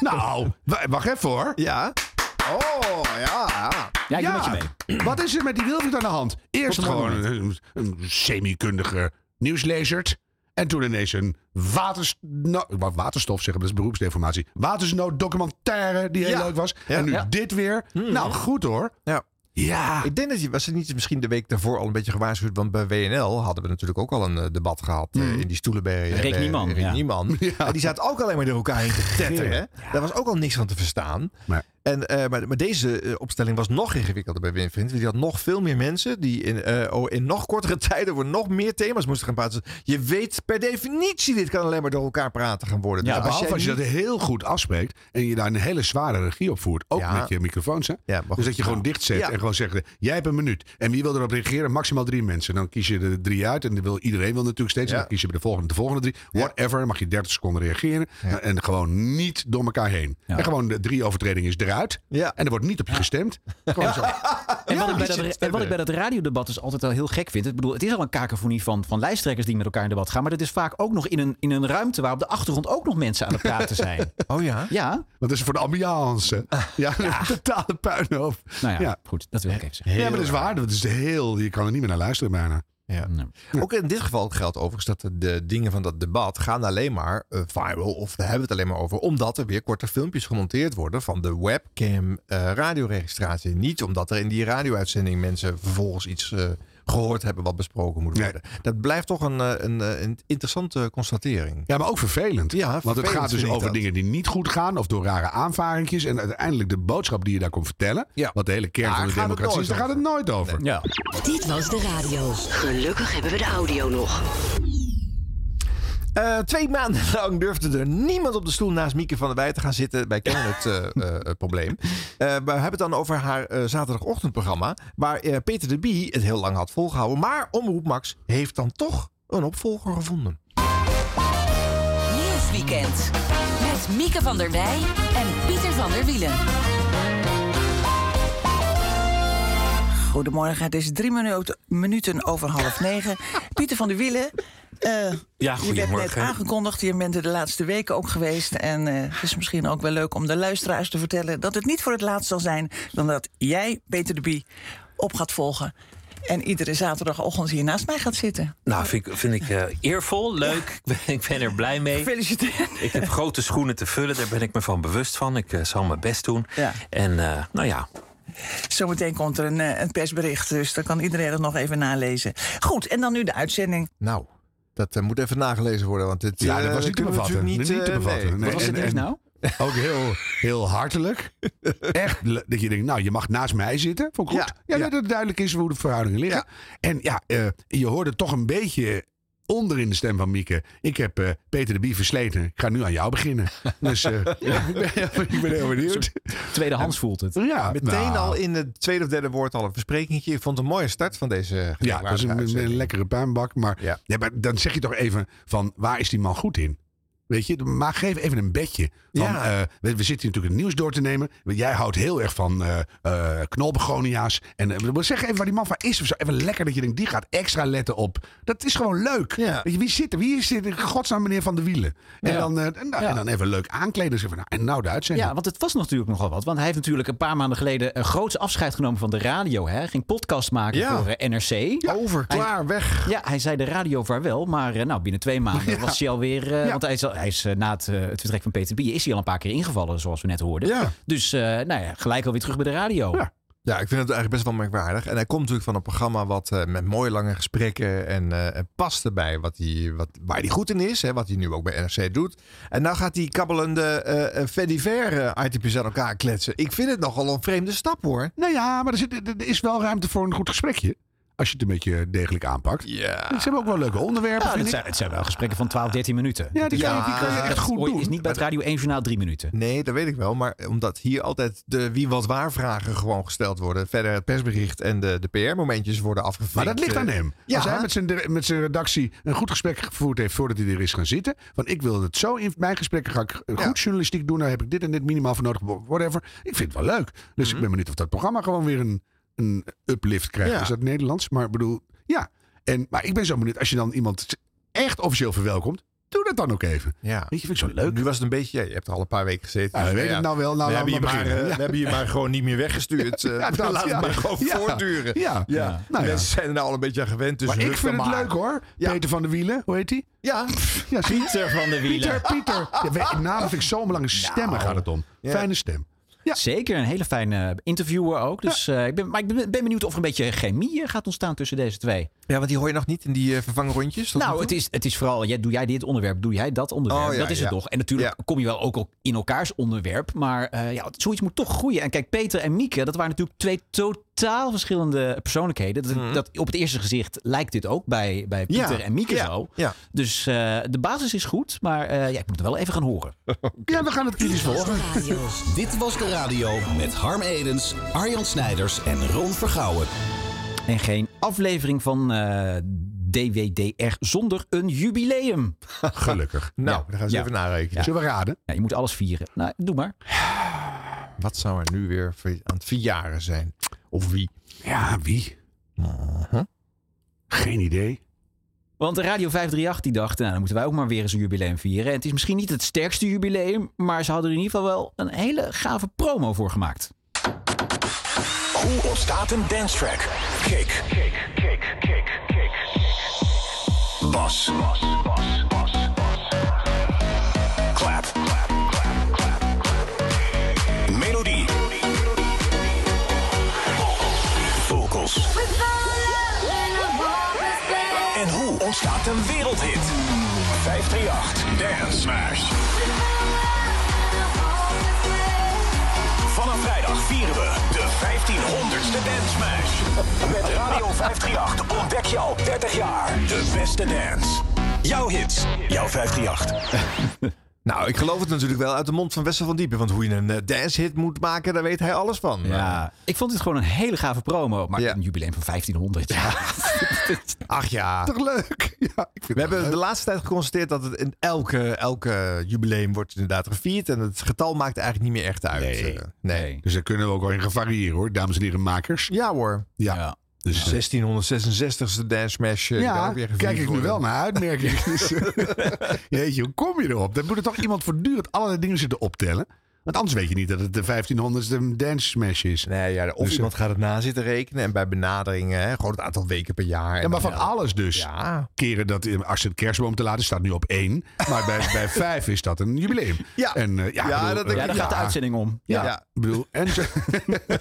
Speaker 1: Nou, wa- wacht even hoor.
Speaker 2: Ja. Oh, ja.
Speaker 3: Ja, ik doe met je
Speaker 1: Wat is er met die Wilfried aan de hand? Eerst
Speaker 2: Tot een
Speaker 1: gewoon
Speaker 2: mooi
Speaker 1: een, een semi-kundige nieuwslezert. En toen ineens een waters, nou, ik wou waterstof zeggen, maar dat is beroepsdeformatie. Watersnood-documentaire die heel
Speaker 2: Ja.
Speaker 1: leuk was.
Speaker 2: Ja.
Speaker 1: En nu
Speaker 2: Ja.
Speaker 1: dit weer. Nou, goed hoor.
Speaker 2: Ja.
Speaker 1: Ja.
Speaker 2: Ik denk dat je was het niet misschien de week daarvoor al een beetje gewaarschuwd. Want bij WNL hadden we natuurlijk ook al een eh, debat gehad eh, in die stoelen bij
Speaker 3: Rick
Speaker 2: bij
Speaker 3: Niemann,
Speaker 2: Rick
Speaker 3: ja.
Speaker 2: *laughs* Niemann. En die zaten ook alleen maar door elkaar heen te tetteren. hè. Daar was ook al niks van te verstaan. En, eh, maar, maar deze eh, opstelling was nog ingewikkelder bij Winfried. Want die had nog veel meer mensen die in, eh, oh, in nog kortere *laughs* tijden voor nog meer thema's moesten gaan praten. Dus Je weet per definitie, dit kan alleen maar door elkaar praten gaan worden.
Speaker 1: Ja,
Speaker 2: Dus
Speaker 1: behalve
Speaker 2: jij
Speaker 1: als je
Speaker 2: niet-
Speaker 1: dat heel goed afspreekt en je daar een hele zware regie op voert. Ook
Speaker 2: Ja.
Speaker 1: met je microfoons. Hè? dus dat je gewoon dicht zet
Speaker 2: Ja.
Speaker 1: en gewoon zegt, jij hebt een minuut. En wie wil erop reageren? Maximaal drie mensen. Dan kies je er drie uit en dan wil, iedereen wil natuurlijk steeds. En dan kies je bij de volgende, de volgende drie. Whatever, dan mag je 30 seconden reageren. En, en gewoon niet door elkaar heen. En gewoon de drie overtredingen is eruit. En er wordt niet op je gestemd. Gewoon zo.
Speaker 3: En wat,
Speaker 1: Ja,
Speaker 3: ik bij
Speaker 1: die
Speaker 3: dat,
Speaker 1: zit
Speaker 3: en wat ik bij
Speaker 1: verder.
Speaker 3: dat radiodebat dus altijd wel heel gek vind. Ik bedoel, het is al een kakofonie van, van lijsttrekkers die met elkaar in debat gaan. Maar dat is vaak ook nog in een, in een ruimte waar op de achtergrond ook nog mensen aan het praten zijn.
Speaker 2: Oh ja?
Speaker 3: Ja.
Speaker 1: Dat is voor de ambiance. Ja, *laughs* totale puinhoop.
Speaker 3: Nou ja,
Speaker 1: Ja.
Speaker 3: goed. Dat wil ik even
Speaker 1: Ja,
Speaker 3: zeggen.
Speaker 1: maar dat is waar. Dat is heel, je kan er niet meer naar luisteren bijna.
Speaker 2: Ja. Ook in dit geval geldt overigens dat de, de dingen van dat debat gaan alleen maar eh, viral. Of daar hebben we het alleen maar over. Omdat er weer korte filmpjes gemonteerd worden van de webcam eh, radioregistratie. Niet omdat er in die radio-uitzending mensen vervolgens iets eh, gehoord hebben wat besproken moet worden. Dat blijft toch een, eh, een, eh, een interessante constatering.
Speaker 1: Ja, maar ook vervelend.
Speaker 2: Ja,
Speaker 1: Want het
Speaker 2: vervelend
Speaker 1: gaat dus
Speaker 2: vind ik
Speaker 1: over
Speaker 2: dat.
Speaker 1: dingen die niet goed gaan. Of door rare aanvaringjes. En uiteindelijk de boodschap die je daar komt vertellen. Wat de hele kern van de
Speaker 2: gaat het
Speaker 1: democratie
Speaker 2: nooit
Speaker 1: is. Daar gaat het nooit over.
Speaker 3: Ja.
Speaker 4: Dit was de radio. Gelukkig hebben we de audio nog.
Speaker 2: Eh, twee maanden *laughs* lang durfde er niemand op de stoel naast Mieke van der Wij te gaan zitten. Wij kennen het eh, eh, het probleem. Eh, we hebben het dan over haar eh, zaterdagochtendprogramma. Waar eh, Peter de Bie het heel lang had volgehouden. Maar Omroep Max heeft dan toch een opvolger gevonden.
Speaker 17: Nieuwsweekend. Met Mieke van der Wij en Pieter van der Wielen.
Speaker 18: Goedemorgen, het is drie minu- minuten over half negen. Pieter van der Wielen, eh, je werd net
Speaker 19: goedemorgen.
Speaker 18: aangekondigd. Je bent er de laatste weken ook geweest. En eh, het is misschien ook wel leuk om de luisteraars te vertellen... dat het niet voor het laatst zal zijn... dan dat jij, Peter de Bie, op gaat volgen. En iedere zaterdagochtend hier naast mij gaat zitten.
Speaker 19: Nou, vind ik, vind ik eh, eervol, leuk. ik ben er
Speaker 9: *laughs*
Speaker 19: blij mee.
Speaker 18: Gefeliciteerd.
Speaker 19: Ik heb grote schoenen te vullen, daar ben ik me van bewust van. Ik eh, zal mijn best doen.
Speaker 18: Ja.
Speaker 19: En eh, nou ja,
Speaker 18: Zometeen komt er een, eh, een persbericht, dus dan kan iedereen het nog even nalezen. Goed, en dan nu de uitzending.
Speaker 2: Nou, dat eh, moet even nagelezen worden. Want dit,
Speaker 1: Ja, dat
Speaker 2: eh,
Speaker 1: was niet te
Speaker 2: kunnen we
Speaker 1: bevatten.
Speaker 2: natuurlijk
Speaker 1: Niet, te
Speaker 2: eh,
Speaker 1: bevatten.
Speaker 2: nee.
Speaker 1: Nee, en- en
Speaker 2: nou?
Speaker 1: Ook heel, heel
Speaker 2: *laughs*
Speaker 1: hartelijk. Echt. le- Dat je denkt, nou, je mag naast mij zitten. Vond ik goed. Ja, nee, dat het duidelijk is hoe de verhoudingen liggen. En ja, eh, je hoorde toch een beetje onder in de stem van Mieke. Ik heb eh, Peter de Bie versleten. Ik ga nu aan jou beginnen. Dus
Speaker 2: *laughs*
Speaker 1: eh, *laughs* ja, ik, ben, ik ben heel benieuwd.
Speaker 3: Tweedehands voelt het.
Speaker 2: Ja, meteen
Speaker 1: nou.
Speaker 2: al in het tweede of derde woord al een versprekingetje. Ik vond het een mooie start van deze eh,
Speaker 1: Ja, dat is een, een, een lekkere puinbak. Maar, ja. maar dan zeg je toch even van waar is die man goed in? Weet je, maar geef even een bedje. Van, eh, we, we zitten hier natuurlijk het nieuws door te nemen. Jij houdt heel erg van eh eh, knolbegonia's. En eh, wil zeg even waar die man van is. Of zo. Even lekker dat je denkt, die gaat extra letten op. Dat is gewoon leuk. Weet je, wie zit er? Wie zit er? Godsnaam meneer Van de Wielen. En,
Speaker 3: Ja.
Speaker 1: dan, eh, en, nou, en dan even leuk aankleden. Zeg van, nou, en nou de uitzending.
Speaker 3: Ja, want het was natuurlijk nogal wat. Want hij heeft natuurlijk een paar maanden geleden een groots afscheid genomen van de radio. Hè. Hij ging podcast maken
Speaker 2: Ja.
Speaker 3: voor eh, NRC.
Speaker 2: Over, klaar, weg.
Speaker 3: Ja, hij zei de radio vaarwel. Maar eh, nou, binnen twee maanden was hij alweer... eh, Want hij is, al- hij is eh, na het, eh, het vertrek van Peter B. is hij al een paar keer ingevallen, zoals we net hoorden. Dus eh, nou ja, gelijk alweer terug bij de radio.
Speaker 2: Ja, ik vind het eigenlijk best wel merkwaardig. En hij komt natuurlijk van een programma wat eh, met mooie lange gesprekken en, eh, en past erbij wat hij, wat, waar hij goed in is. Hè, wat hij nu ook bij NRC doet. En nou gaat die kabbelende eh Fediver items aan elkaar kletsen. Ik vind het nogal een vreemde stap hoor.
Speaker 1: Nou ja, maar er, zit, er is wel ruimte voor een goed gesprekje. Als je het een beetje degelijk aanpakt.
Speaker 2: Ja.
Speaker 1: Ze hebben ook wel leuke onderwerpen.
Speaker 3: Ja,
Speaker 1: vind
Speaker 3: het,
Speaker 1: ik.
Speaker 3: zijn, het zijn wel gesprekken van 12, 13 minuten.
Speaker 1: Ja,
Speaker 3: Dat
Speaker 1: die
Speaker 3: is-
Speaker 1: kan je- die kan je echt
Speaker 3: dat
Speaker 1: goed
Speaker 3: ooit-
Speaker 1: doen.
Speaker 3: is niet bij het Radio 1 Journaal drie minuten.
Speaker 2: Nee, dat weet ik wel. Maar omdat hier altijd de wie wat waar vragen gewoon gesteld worden. Verder het persbericht en de, de PR-momentjes worden afgevinkt. eh,
Speaker 1: Maar dat ligt aan hem.
Speaker 2: Ja,
Speaker 1: Als hij met zijn, met zijn redactie een goed gesprek gevoerd heeft voordat hij er is gaan zitten. Want ik wil het zo in mijn gesprekken ga ik goed journalistiek doen. Daar heb ik dit en dit minimaal voor nodig. Whatever. Ik vind het wel leuk. Dus
Speaker 3: Mhm.
Speaker 1: ik ben benieuwd of dat programma gewoon weer een, een uplift krijgt.
Speaker 2: Ja.
Speaker 1: Is dat Nederlands? Maar ik bedoel, ja. En, maar ik ben zo benieuwd. Als je dan iemand echt officieel verwelkomt, doe dat dan ook even.
Speaker 2: Ja.
Speaker 1: Weet je, vind ik zo leuk.
Speaker 2: Nu was het een beetje, ja, je hebt er al een paar weken gezeten.
Speaker 1: Ja, we
Speaker 2: Dus,
Speaker 1: weten het nou wel, nou laten
Speaker 2: we, hebben je
Speaker 1: we
Speaker 2: maar,
Speaker 1: maar beginnen.
Speaker 2: eh,
Speaker 1: Ja.
Speaker 2: we hebben je maar gewoon niet meer weggestuurd.
Speaker 1: *laughs*
Speaker 2: Eh,
Speaker 1: Ja, dat,
Speaker 2: laat
Speaker 1: ja.
Speaker 2: het maar gewoon
Speaker 1: Ja.
Speaker 2: voortduren.
Speaker 1: Ja. Ja. Nou ja.
Speaker 2: Mensen zijn er nou al een beetje aan gewend. Dus
Speaker 1: maar ik
Speaker 2: ruk
Speaker 1: vind
Speaker 2: dan
Speaker 1: het
Speaker 2: maar.
Speaker 1: leuk hoor. Peter van der Wielen, hoe heet hij?
Speaker 2: Ja.
Speaker 1: ja zie je?
Speaker 3: Pieter van der Wielen.
Speaker 1: Pieter, Pieter. Ja, we- naam vind ik zo'n belangrijke stemmen gaat het om.
Speaker 3: Ja.
Speaker 1: Fijne stem.
Speaker 3: Zeker, een hele fijne interviewer ook. Dus, eh, ik ben, maar ik ben, ben benieuwd of er een beetje chemie eh, gaat ontstaan tussen deze twee.
Speaker 2: Ja, want die hoor je nog niet in die eh, vervangrondjes. tot nu
Speaker 3: Nou,
Speaker 2: toe?
Speaker 3: het is, het is vooral, ja, doe jij dit onderwerp, doe jij dat onderwerp.
Speaker 2: Oh, ja,
Speaker 3: dat is het
Speaker 2: ja.
Speaker 3: toch. En natuurlijk kom je wel ook al in elkaars onderwerp. Maar eh, ja, zoiets moet toch groeien. En kijk, Peter en Mieke, dat waren natuurlijk twee totaal verschillende persoonlijkheden. Dat,
Speaker 1: Mhm.
Speaker 3: dat, op het eerste gezicht lijkt dit ook bij, bij
Speaker 2: Ja,
Speaker 3: Pieter en Mieke
Speaker 2: ja,
Speaker 3: zo.
Speaker 2: ja.
Speaker 3: Dus eh, de basis is goed, maar eh, ja, ik moet het wel even gaan horen.
Speaker 1: Ja, we gaan het kritisch volgen.
Speaker 6: Dit was de radio met Harm Edens, Arjan Snijders en Ron Vergouwen.
Speaker 3: En geen aflevering van eh, DWDR zonder een jubileum.
Speaker 1: Gelukkig.
Speaker 2: Nou, dan gaan ze even narekenen. Zullen
Speaker 1: we raden?
Speaker 3: Ja, je moet alles vieren. Nou, doe maar.
Speaker 2: Wat zou er nu weer ver- aan het verjaren zijn? Of wie?
Speaker 1: Ja, wie? Uh-huh. Geen idee.
Speaker 3: Want de Radio 538 die dacht, nou, dan moeten wij ook maar weer eens een jubileum vieren. En het is misschien niet het sterkste jubileum, maar ze hadden er in ieder geval wel een hele gave promo voor gemaakt.
Speaker 5: Hoe ontstaat een dance track? Kick. Kick, kick, kick, kick. Bas. Clap. Melodie. Vocals.
Speaker 4: When
Speaker 5: Culthit. 538 Dance Smash. Vanaf vrijdag vieren we de 1500ste Dance Smash. Met Radio 538 ontdek je al 30 jaar de beste dance. Jouw hits, jouw 538.
Speaker 2: Nou, ik geloof het natuurlijk wel uit de mond van Wessel van Diepen. Want hoe je een eh, dancehit moet maken, daar weet hij alles van.
Speaker 3: Ja, ik vond dit gewoon een hele gave promo. Maar een jubileum van 1500. *laughs* Ja.
Speaker 2: Ach ja.
Speaker 3: Toch
Speaker 1: leuk?
Speaker 2: We hebben de laatste tijd geconstateerd dat het in elke, elke jubileum wordt inderdaad gevierd. En het getal maakt eigenlijk niet meer echt uit. eh, Nee.
Speaker 1: Dus daar kunnen we ook wel in gaan variëren hoor, dames en heren makers.
Speaker 2: Ja hoor.
Speaker 1: Ja. Dus, eh,
Speaker 2: 1666ste Dance Smash. eh, die kan
Speaker 1: ja,
Speaker 2: ook weer gevierd
Speaker 1: kijk ik nu
Speaker 2: worden.
Speaker 1: wel naar uit, merk *laughs* ik. Dus, eh, Jeetje, hoe kom je erop? Dan moet er toch iemand voortdurend allerlei dingen zitten optellen. Want anders weet je niet dat het de 1500ste dance smash is.
Speaker 2: Nee, ja, Of iemand gaat het na zitten rekenen. En bij benaderingen, hè, gewoon het aantal weken per jaar.
Speaker 1: Ja,
Speaker 2: En
Speaker 1: maar
Speaker 2: dan,
Speaker 1: van alles dus. Keren dat in- als ze een kerstboom te laten staat nu op één. Maar
Speaker 3: *laughs*
Speaker 1: bij, bij vijf is dat een jubileum.
Speaker 2: Ja.
Speaker 1: en, eh, ja,
Speaker 2: Ja,
Speaker 1: bedoel,
Speaker 2: dat denk
Speaker 1: eh,
Speaker 2: ik, ja.
Speaker 1: Ja,
Speaker 2: Ja.
Speaker 1: Ik bedoel, en
Speaker 3: *laughs*
Speaker 1: zo.
Speaker 2: Ik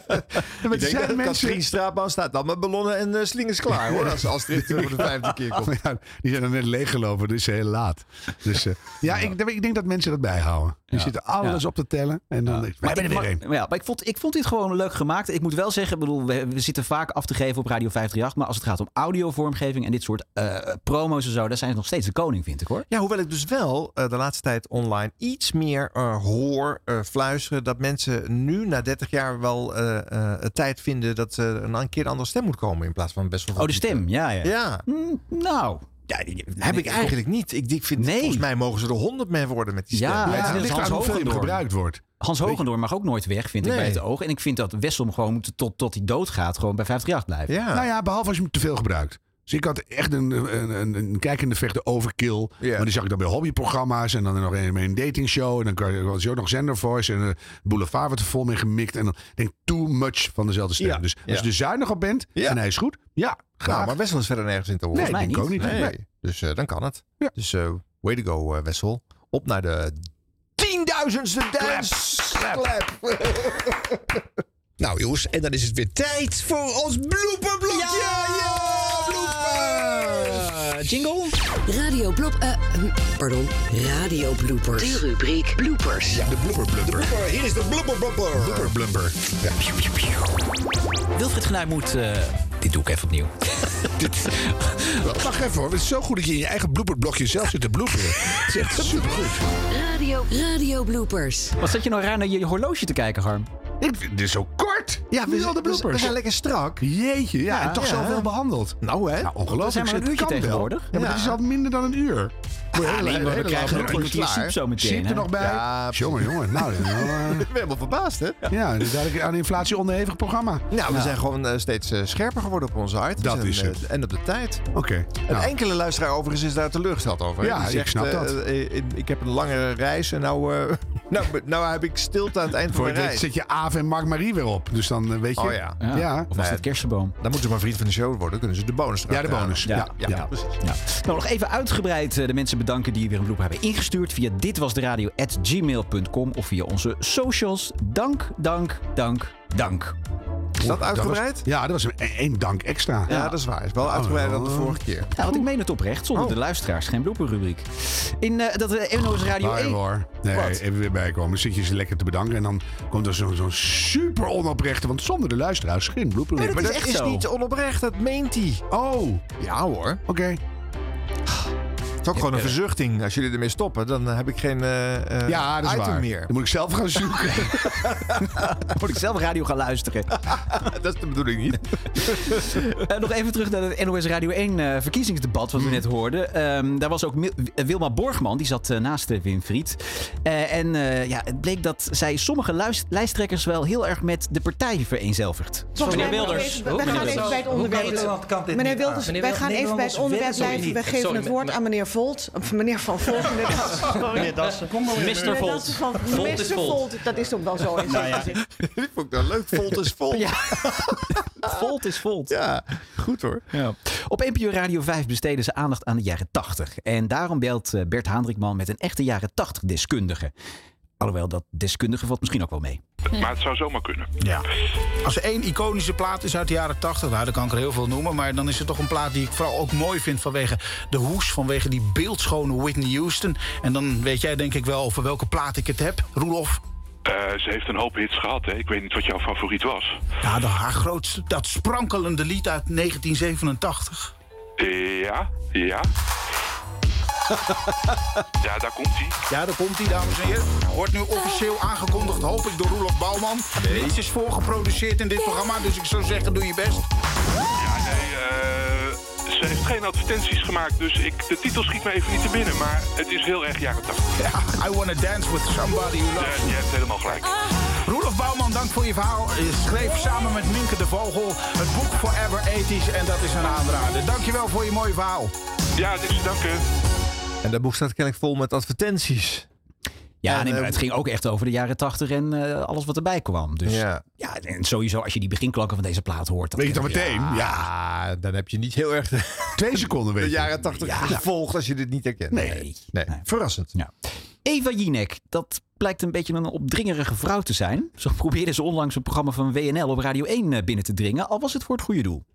Speaker 2: denk
Speaker 1: zijn
Speaker 2: dat
Speaker 1: mensen-
Speaker 2: Katrien Straatman staat dan met ballonnen en eh, slingers klaar. Hoor, als, als dit eh, voor de vijfde keer *laughs*
Speaker 3: Oh.
Speaker 2: komt.
Speaker 1: Ja, die zijn er net leeggelopen, dus heel laat. Dus, eh, ja, Ik, ik denk dat mensen dat bijhouden. Die zitten alles
Speaker 3: Ja.
Speaker 1: op te tellen. En dan, wij hebben er weer één.
Speaker 3: Maar, ja, maar ik, vond, ik vond dit gewoon leuk gemaakt. Ik moet wel zeggen, ik bedoel, we, we zitten vaak af te geven op Radio 538. Maar als het gaat om audiovormgeving en dit soort eh, promo's en zo, daar zijn ze nog steeds de koning, vind ik hoor.
Speaker 2: Ja, hoewel ik dus wel eh, de laatste tijd online iets meer eh, hoor eh, fluisteren. Dat mensen nu na 30 jaar wel eh eh, het tijd vinden dat eh, er een keer een andere stem moet komen. In plaats van best wel. eh.
Speaker 3: Oh, de stem, ja. Ja.
Speaker 2: Ja.
Speaker 3: Mm, nou.
Speaker 2: Ja, die- heb ik eigenlijk niet. Ik, ik vind, volgens mij mogen ze er 100 mee worden met die stem.
Speaker 3: Ja, het is Hans Hogendoorn.
Speaker 1: wordt.
Speaker 3: Hans Hogendoor mag ook nooit weg, vind ik
Speaker 2: Nee.
Speaker 3: bij het oog. En ik vind dat Wessel gewoon moet tot, tot hij doodgaat gewoon bij 538 blijven.
Speaker 1: Nou ja, behalve als je hem te veel gebruikt. Dus ik had echt een, een, een, een kijkende vechte overkill. Maar die zag ik dan bij hobbyprogramma's. En dan nog een, een datingshow. En dan kan- was je ook nog Zender Voice. En eh, Boulevard werd er vol mee gemikt. En dan denk ik, too much van dezelfde stem.
Speaker 2: Ja,
Speaker 1: Dus als
Speaker 2: ja.
Speaker 1: je er zuinig op bent en hij is goed. Ja, graag.
Speaker 2: Nou, maar Wessel is verder nergens in te horen.
Speaker 1: Nee, Volgens mij denk ik niet. ook niet.
Speaker 2: Nee.
Speaker 1: Nee.
Speaker 2: Dus eh, dan kan het. Dus eh, way to go, eh, Wessel. Op naar de 10.000ste dance. *laughs* Nou jongens, en dan is het weer tijd voor ons bloeperblokje. Ja, ja,
Speaker 20: jingle? Radio blop... eh, hm, pardon, radio bloopers.
Speaker 4: De
Speaker 20: rubriek bloopers.
Speaker 5: Ja, de blooper blumper. Hier is de blooper blumper. Blooper blumper. Ja.
Speaker 3: Wilfried Genuij moet... eh, dit doe ik even opnieuw.
Speaker 1: Wacht even hoor. Het is zo goed dat je in je eigen blooperblokje zelf zit te bloeperen. Het is
Speaker 2: *laughs*
Speaker 1: echt supergoed.
Speaker 20: Radio, radio bloopers.
Speaker 3: Wat zat je nou raar naar je horloge te kijken, Harm?
Speaker 1: Ik vind dit zo kort. Ja,
Speaker 3: Nu al de
Speaker 1: we,
Speaker 3: bloopers.
Speaker 1: we zijn lekker strak. Jeetje, ja,
Speaker 3: Ja,
Speaker 1: en toch
Speaker 3: ja.
Speaker 1: zoveel behandeld. Nou hè?
Speaker 3: We
Speaker 1: ongelooflijk.
Speaker 3: zijn maar een
Speaker 1: Het
Speaker 3: uurtje
Speaker 1: kan wel.
Speaker 3: tegenwoordig.
Speaker 1: Ja, maar
Speaker 3: Ja.
Speaker 1: het is al minder dan een uur. Voor
Speaker 3: Ah,
Speaker 1: heel-
Speaker 3: nee, maar
Speaker 1: heel-
Speaker 3: we
Speaker 1: heel-
Speaker 3: krijgen
Speaker 1: heel-
Speaker 3: nog een kwartier
Speaker 1: klaar.
Speaker 3: soep zo meteen,
Speaker 1: Siep er
Speaker 3: hè?
Speaker 1: nog bij.
Speaker 3: Ja, precies.
Speaker 1: jongen, jongen. Nou,
Speaker 2: Ik ben helemaal verbaasd, hè?
Speaker 1: Ja, inderdaad. Een aan inflatie onderhevig programma.
Speaker 2: Nou, we zijn gewoon eh, steeds eh, scherper geworden op onze items.
Speaker 1: Dat
Speaker 2: en,
Speaker 1: is
Speaker 2: eh,
Speaker 1: het.
Speaker 2: En op de tijd.
Speaker 1: Oké. Nou,
Speaker 2: Een enkele luisteraar overigens is daar teleurgesteld over.
Speaker 1: Ja,
Speaker 2: Die
Speaker 1: ik
Speaker 2: zegt,
Speaker 1: snap
Speaker 2: eh,
Speaker 1: dat.
Speaker 2: eh, eh, ik heb een langere reis en nou, eh, *laughs* nou, be- nou heb ik stilte aan het eind van
Speaker 1: Voor je
Speaker 2: mijn
Speaker 1: weet zet
Speaker 2: reis.
Speaker 1: je Aaf en Mark Marie weer op. Dus dan eh, weet je...
Speaker 2: Oh ja.
Speaker 1: Ja.
Speaker 3: Of was het kersenboom?
Speaker 2: Dan moeten ze maar vriend van de show worden. Dan kunnen ze de bonus
Speaker 1: Ja, de
Speaker 2: erachteraan.
Speaker 1: bonus. Ja.
Speaker 2: ja,
Speaker 1: Ja.
Speaker 2: precies.
Speaker 3: Nou, nog even uitgebreid eh, de mensen bedanken die weer een bloeper hebben ingestuurd via ditwasderadio.gmail.com of via onze socials. Dank, dank, dank, dank.
Speaker 2: Is dat uitgebreid?
Speaker 1: was- ja, dat was een- één dank extra.
Speaker 2: Ja, Oh, dat is waar. Is wel uitgebreider
Speaker 1: Oh.
Speaker 2: dan de vorige keer.
Speaker 3: Ja, want Nou, ik meen het oprecht. Zonder de luisteraars geen bloeperrubriek. In eh, dat eh, NOS Radio
Speaker 1: Nee
Speaker 3: 1...
Speaker 1: hoor. Nee,
Speaker 3: Wat?
Speaker 1: even weer bijkomen. Dan zit je ze lekker te bedanken. En dan komt er zo'n zo'n super onoprechte. Want zonder de luisteraars geen bloeper.
Speaker 2: Nee, maar dat is, niet onoprecht. Dat meent hij.
Speaker 1: Oh.
Speaker 2: Ja hoor.
Speaker 1: Oké.
Speaker 2: Het is ook gewoon een verzuchting. Als jullie ermee stoppen, dan heb ik geen eh, eh,
Speaker 1: Ja, dat is
Speaker 2: item
Speaker 1: waar.
Speaker 2: meer. *laughs*
Speaker 1: Dan moet ik zelf gaan zoeken.
Speaker 3: *laughs*
Speaker 1: *laughs*
Speaker 3: Moet ik zelf radio gaan luisteren.
Speaker 2: dat is de bedoeling *laughs* niet.
Speaker 3: Eh, nog even terug naar het NOS Radio 1 eh, verkiezingsdebat wat we net hoorden. Ehm, daar was ook Mil- eh, Wilma Borgman, die zat eh, naast eh, Wim Fried. Eh, en eh, ja, het bleek dat zij sommige luis- lijsttrekkers wel heel erg met de partij vereenzelvigt.
Speaker 21: Volgens mij moeten we even- We gaan even bij het onderwerp. Meneer Wilders, wij gaan even bij het onderwerp blijven. Wij geven het woord aan meneer Volt. Of meneer Van Volt. meneer Dassen.
Speaker 16: Meneer Dassen. Kom maar weer.
Speaker 21: Meneer
Speaker 16: Mr. Volt.
Speaker 21: Dassen van-
Speaker 16: Volt
Speaker 21: Mr.
Speaker 16: is Volt.
Speaker 21: Volt. Dat is toch wel zo. in
Speaker 16: Nou
Speaker 21: zekere
Speaker 16: ja.
Speaker 21: zin.
Speaker 2: Die vond ik nou leuk. Volt is *laughs* vol.
Speaker 3: *laughs* Volt is Volt.
Speaker 2: Ja, goed hoor.
Speaker 3: Op NPO Radio 5 besteden ze aandacht aan de jaren 80. En daarom belt eh, Bert Haandrikman met een echte jaren 80 deskundige. Alhoewel, dat deskundige valt misschien ook wel mee.
Speaker 8: *laughs* Maar het zou zomaar kunnen.
Speaker 22: Ja. Als er één iconische plaat is uit de jaren 80, nou, dan kan ik er heel veel noemen. Maar dan is het toch een plaat die ik vooral ook mooi vind vanwege de hoes. Vanwege die beeldschone Whitney Houston. En dan weet jij denk ik wel over welke plaat ik het heb, Roelof.
Speaker 8: Eh, ze heeft een hoop hits gehad, hè? Ik weet niet wat jouw favoriet was.
Speaker 22: Ja, de, haar grootste, dat sprankelende lied uit 1987.
Speaker 8: Ja,
Speaker 22: *laughs*
Speaker 8: ja. ja, daar komt hij.
Speaker 22: Ja, daar komt hij, dames en heren. Wordt nu officieel aangekondigd, hoop ik, door Roelof Bouwman.
Speaker 8: Nee.
Speaker 22: Niets is voorgeproduceerd in dit programma, dus ik zou zeggen, doe je best.
Speaker 8: Ja, nee, eh, ze heeft geen advertenties gemaakt, dus ik, de titel schiet me even niet te binnen. Maar het is heel erg jaren 80.
Speaker 22: Ja, I wanna dance with somebody who loves
Speaker 8: je hebt helemaal gelijk.
Speaker 22: Roelof Bouwman, dank voor je verhaal. Je schreef samen met Minke de Vogel het boek Forever 80s en dat is een aanrader. Dankjewel voor je mooie verhaal.
Speaker 8: Ja, dus niks te danken.
Speaker 2: En dat boek staat kennelijk vol met advertenties.
Speaker 3: Ja,
Speaker 2: En,
Speaker 3: nee, maar het
Speaker 2: eh,
Speaker 3: ging ook echt over de jaren tachtig en eh, alles wat erbij kwam. Dus ja. en sowieso als je die beginklanken van deze plaat hoort.
Speaker 2: Weet je
Speaker 3: dan
Speaker 2: het al meteen? Ja, dan heb je niet heel erg... *laughs*
Speaker 1: Twee seconden
Speaker 2: De jaren 80 gevolgd als je dit niet herkent.
Speaker 3: Nee.
Speaker 2: nee. Verrassend.
Speaker 3: Ja. Eva Jinek, dat blijkt een beetje een opdringerige vrouw te zijn. Zo probeerde ze onlangs een programma van WNL op Radio 1 binnen te dringen, al was het voor het goede doel.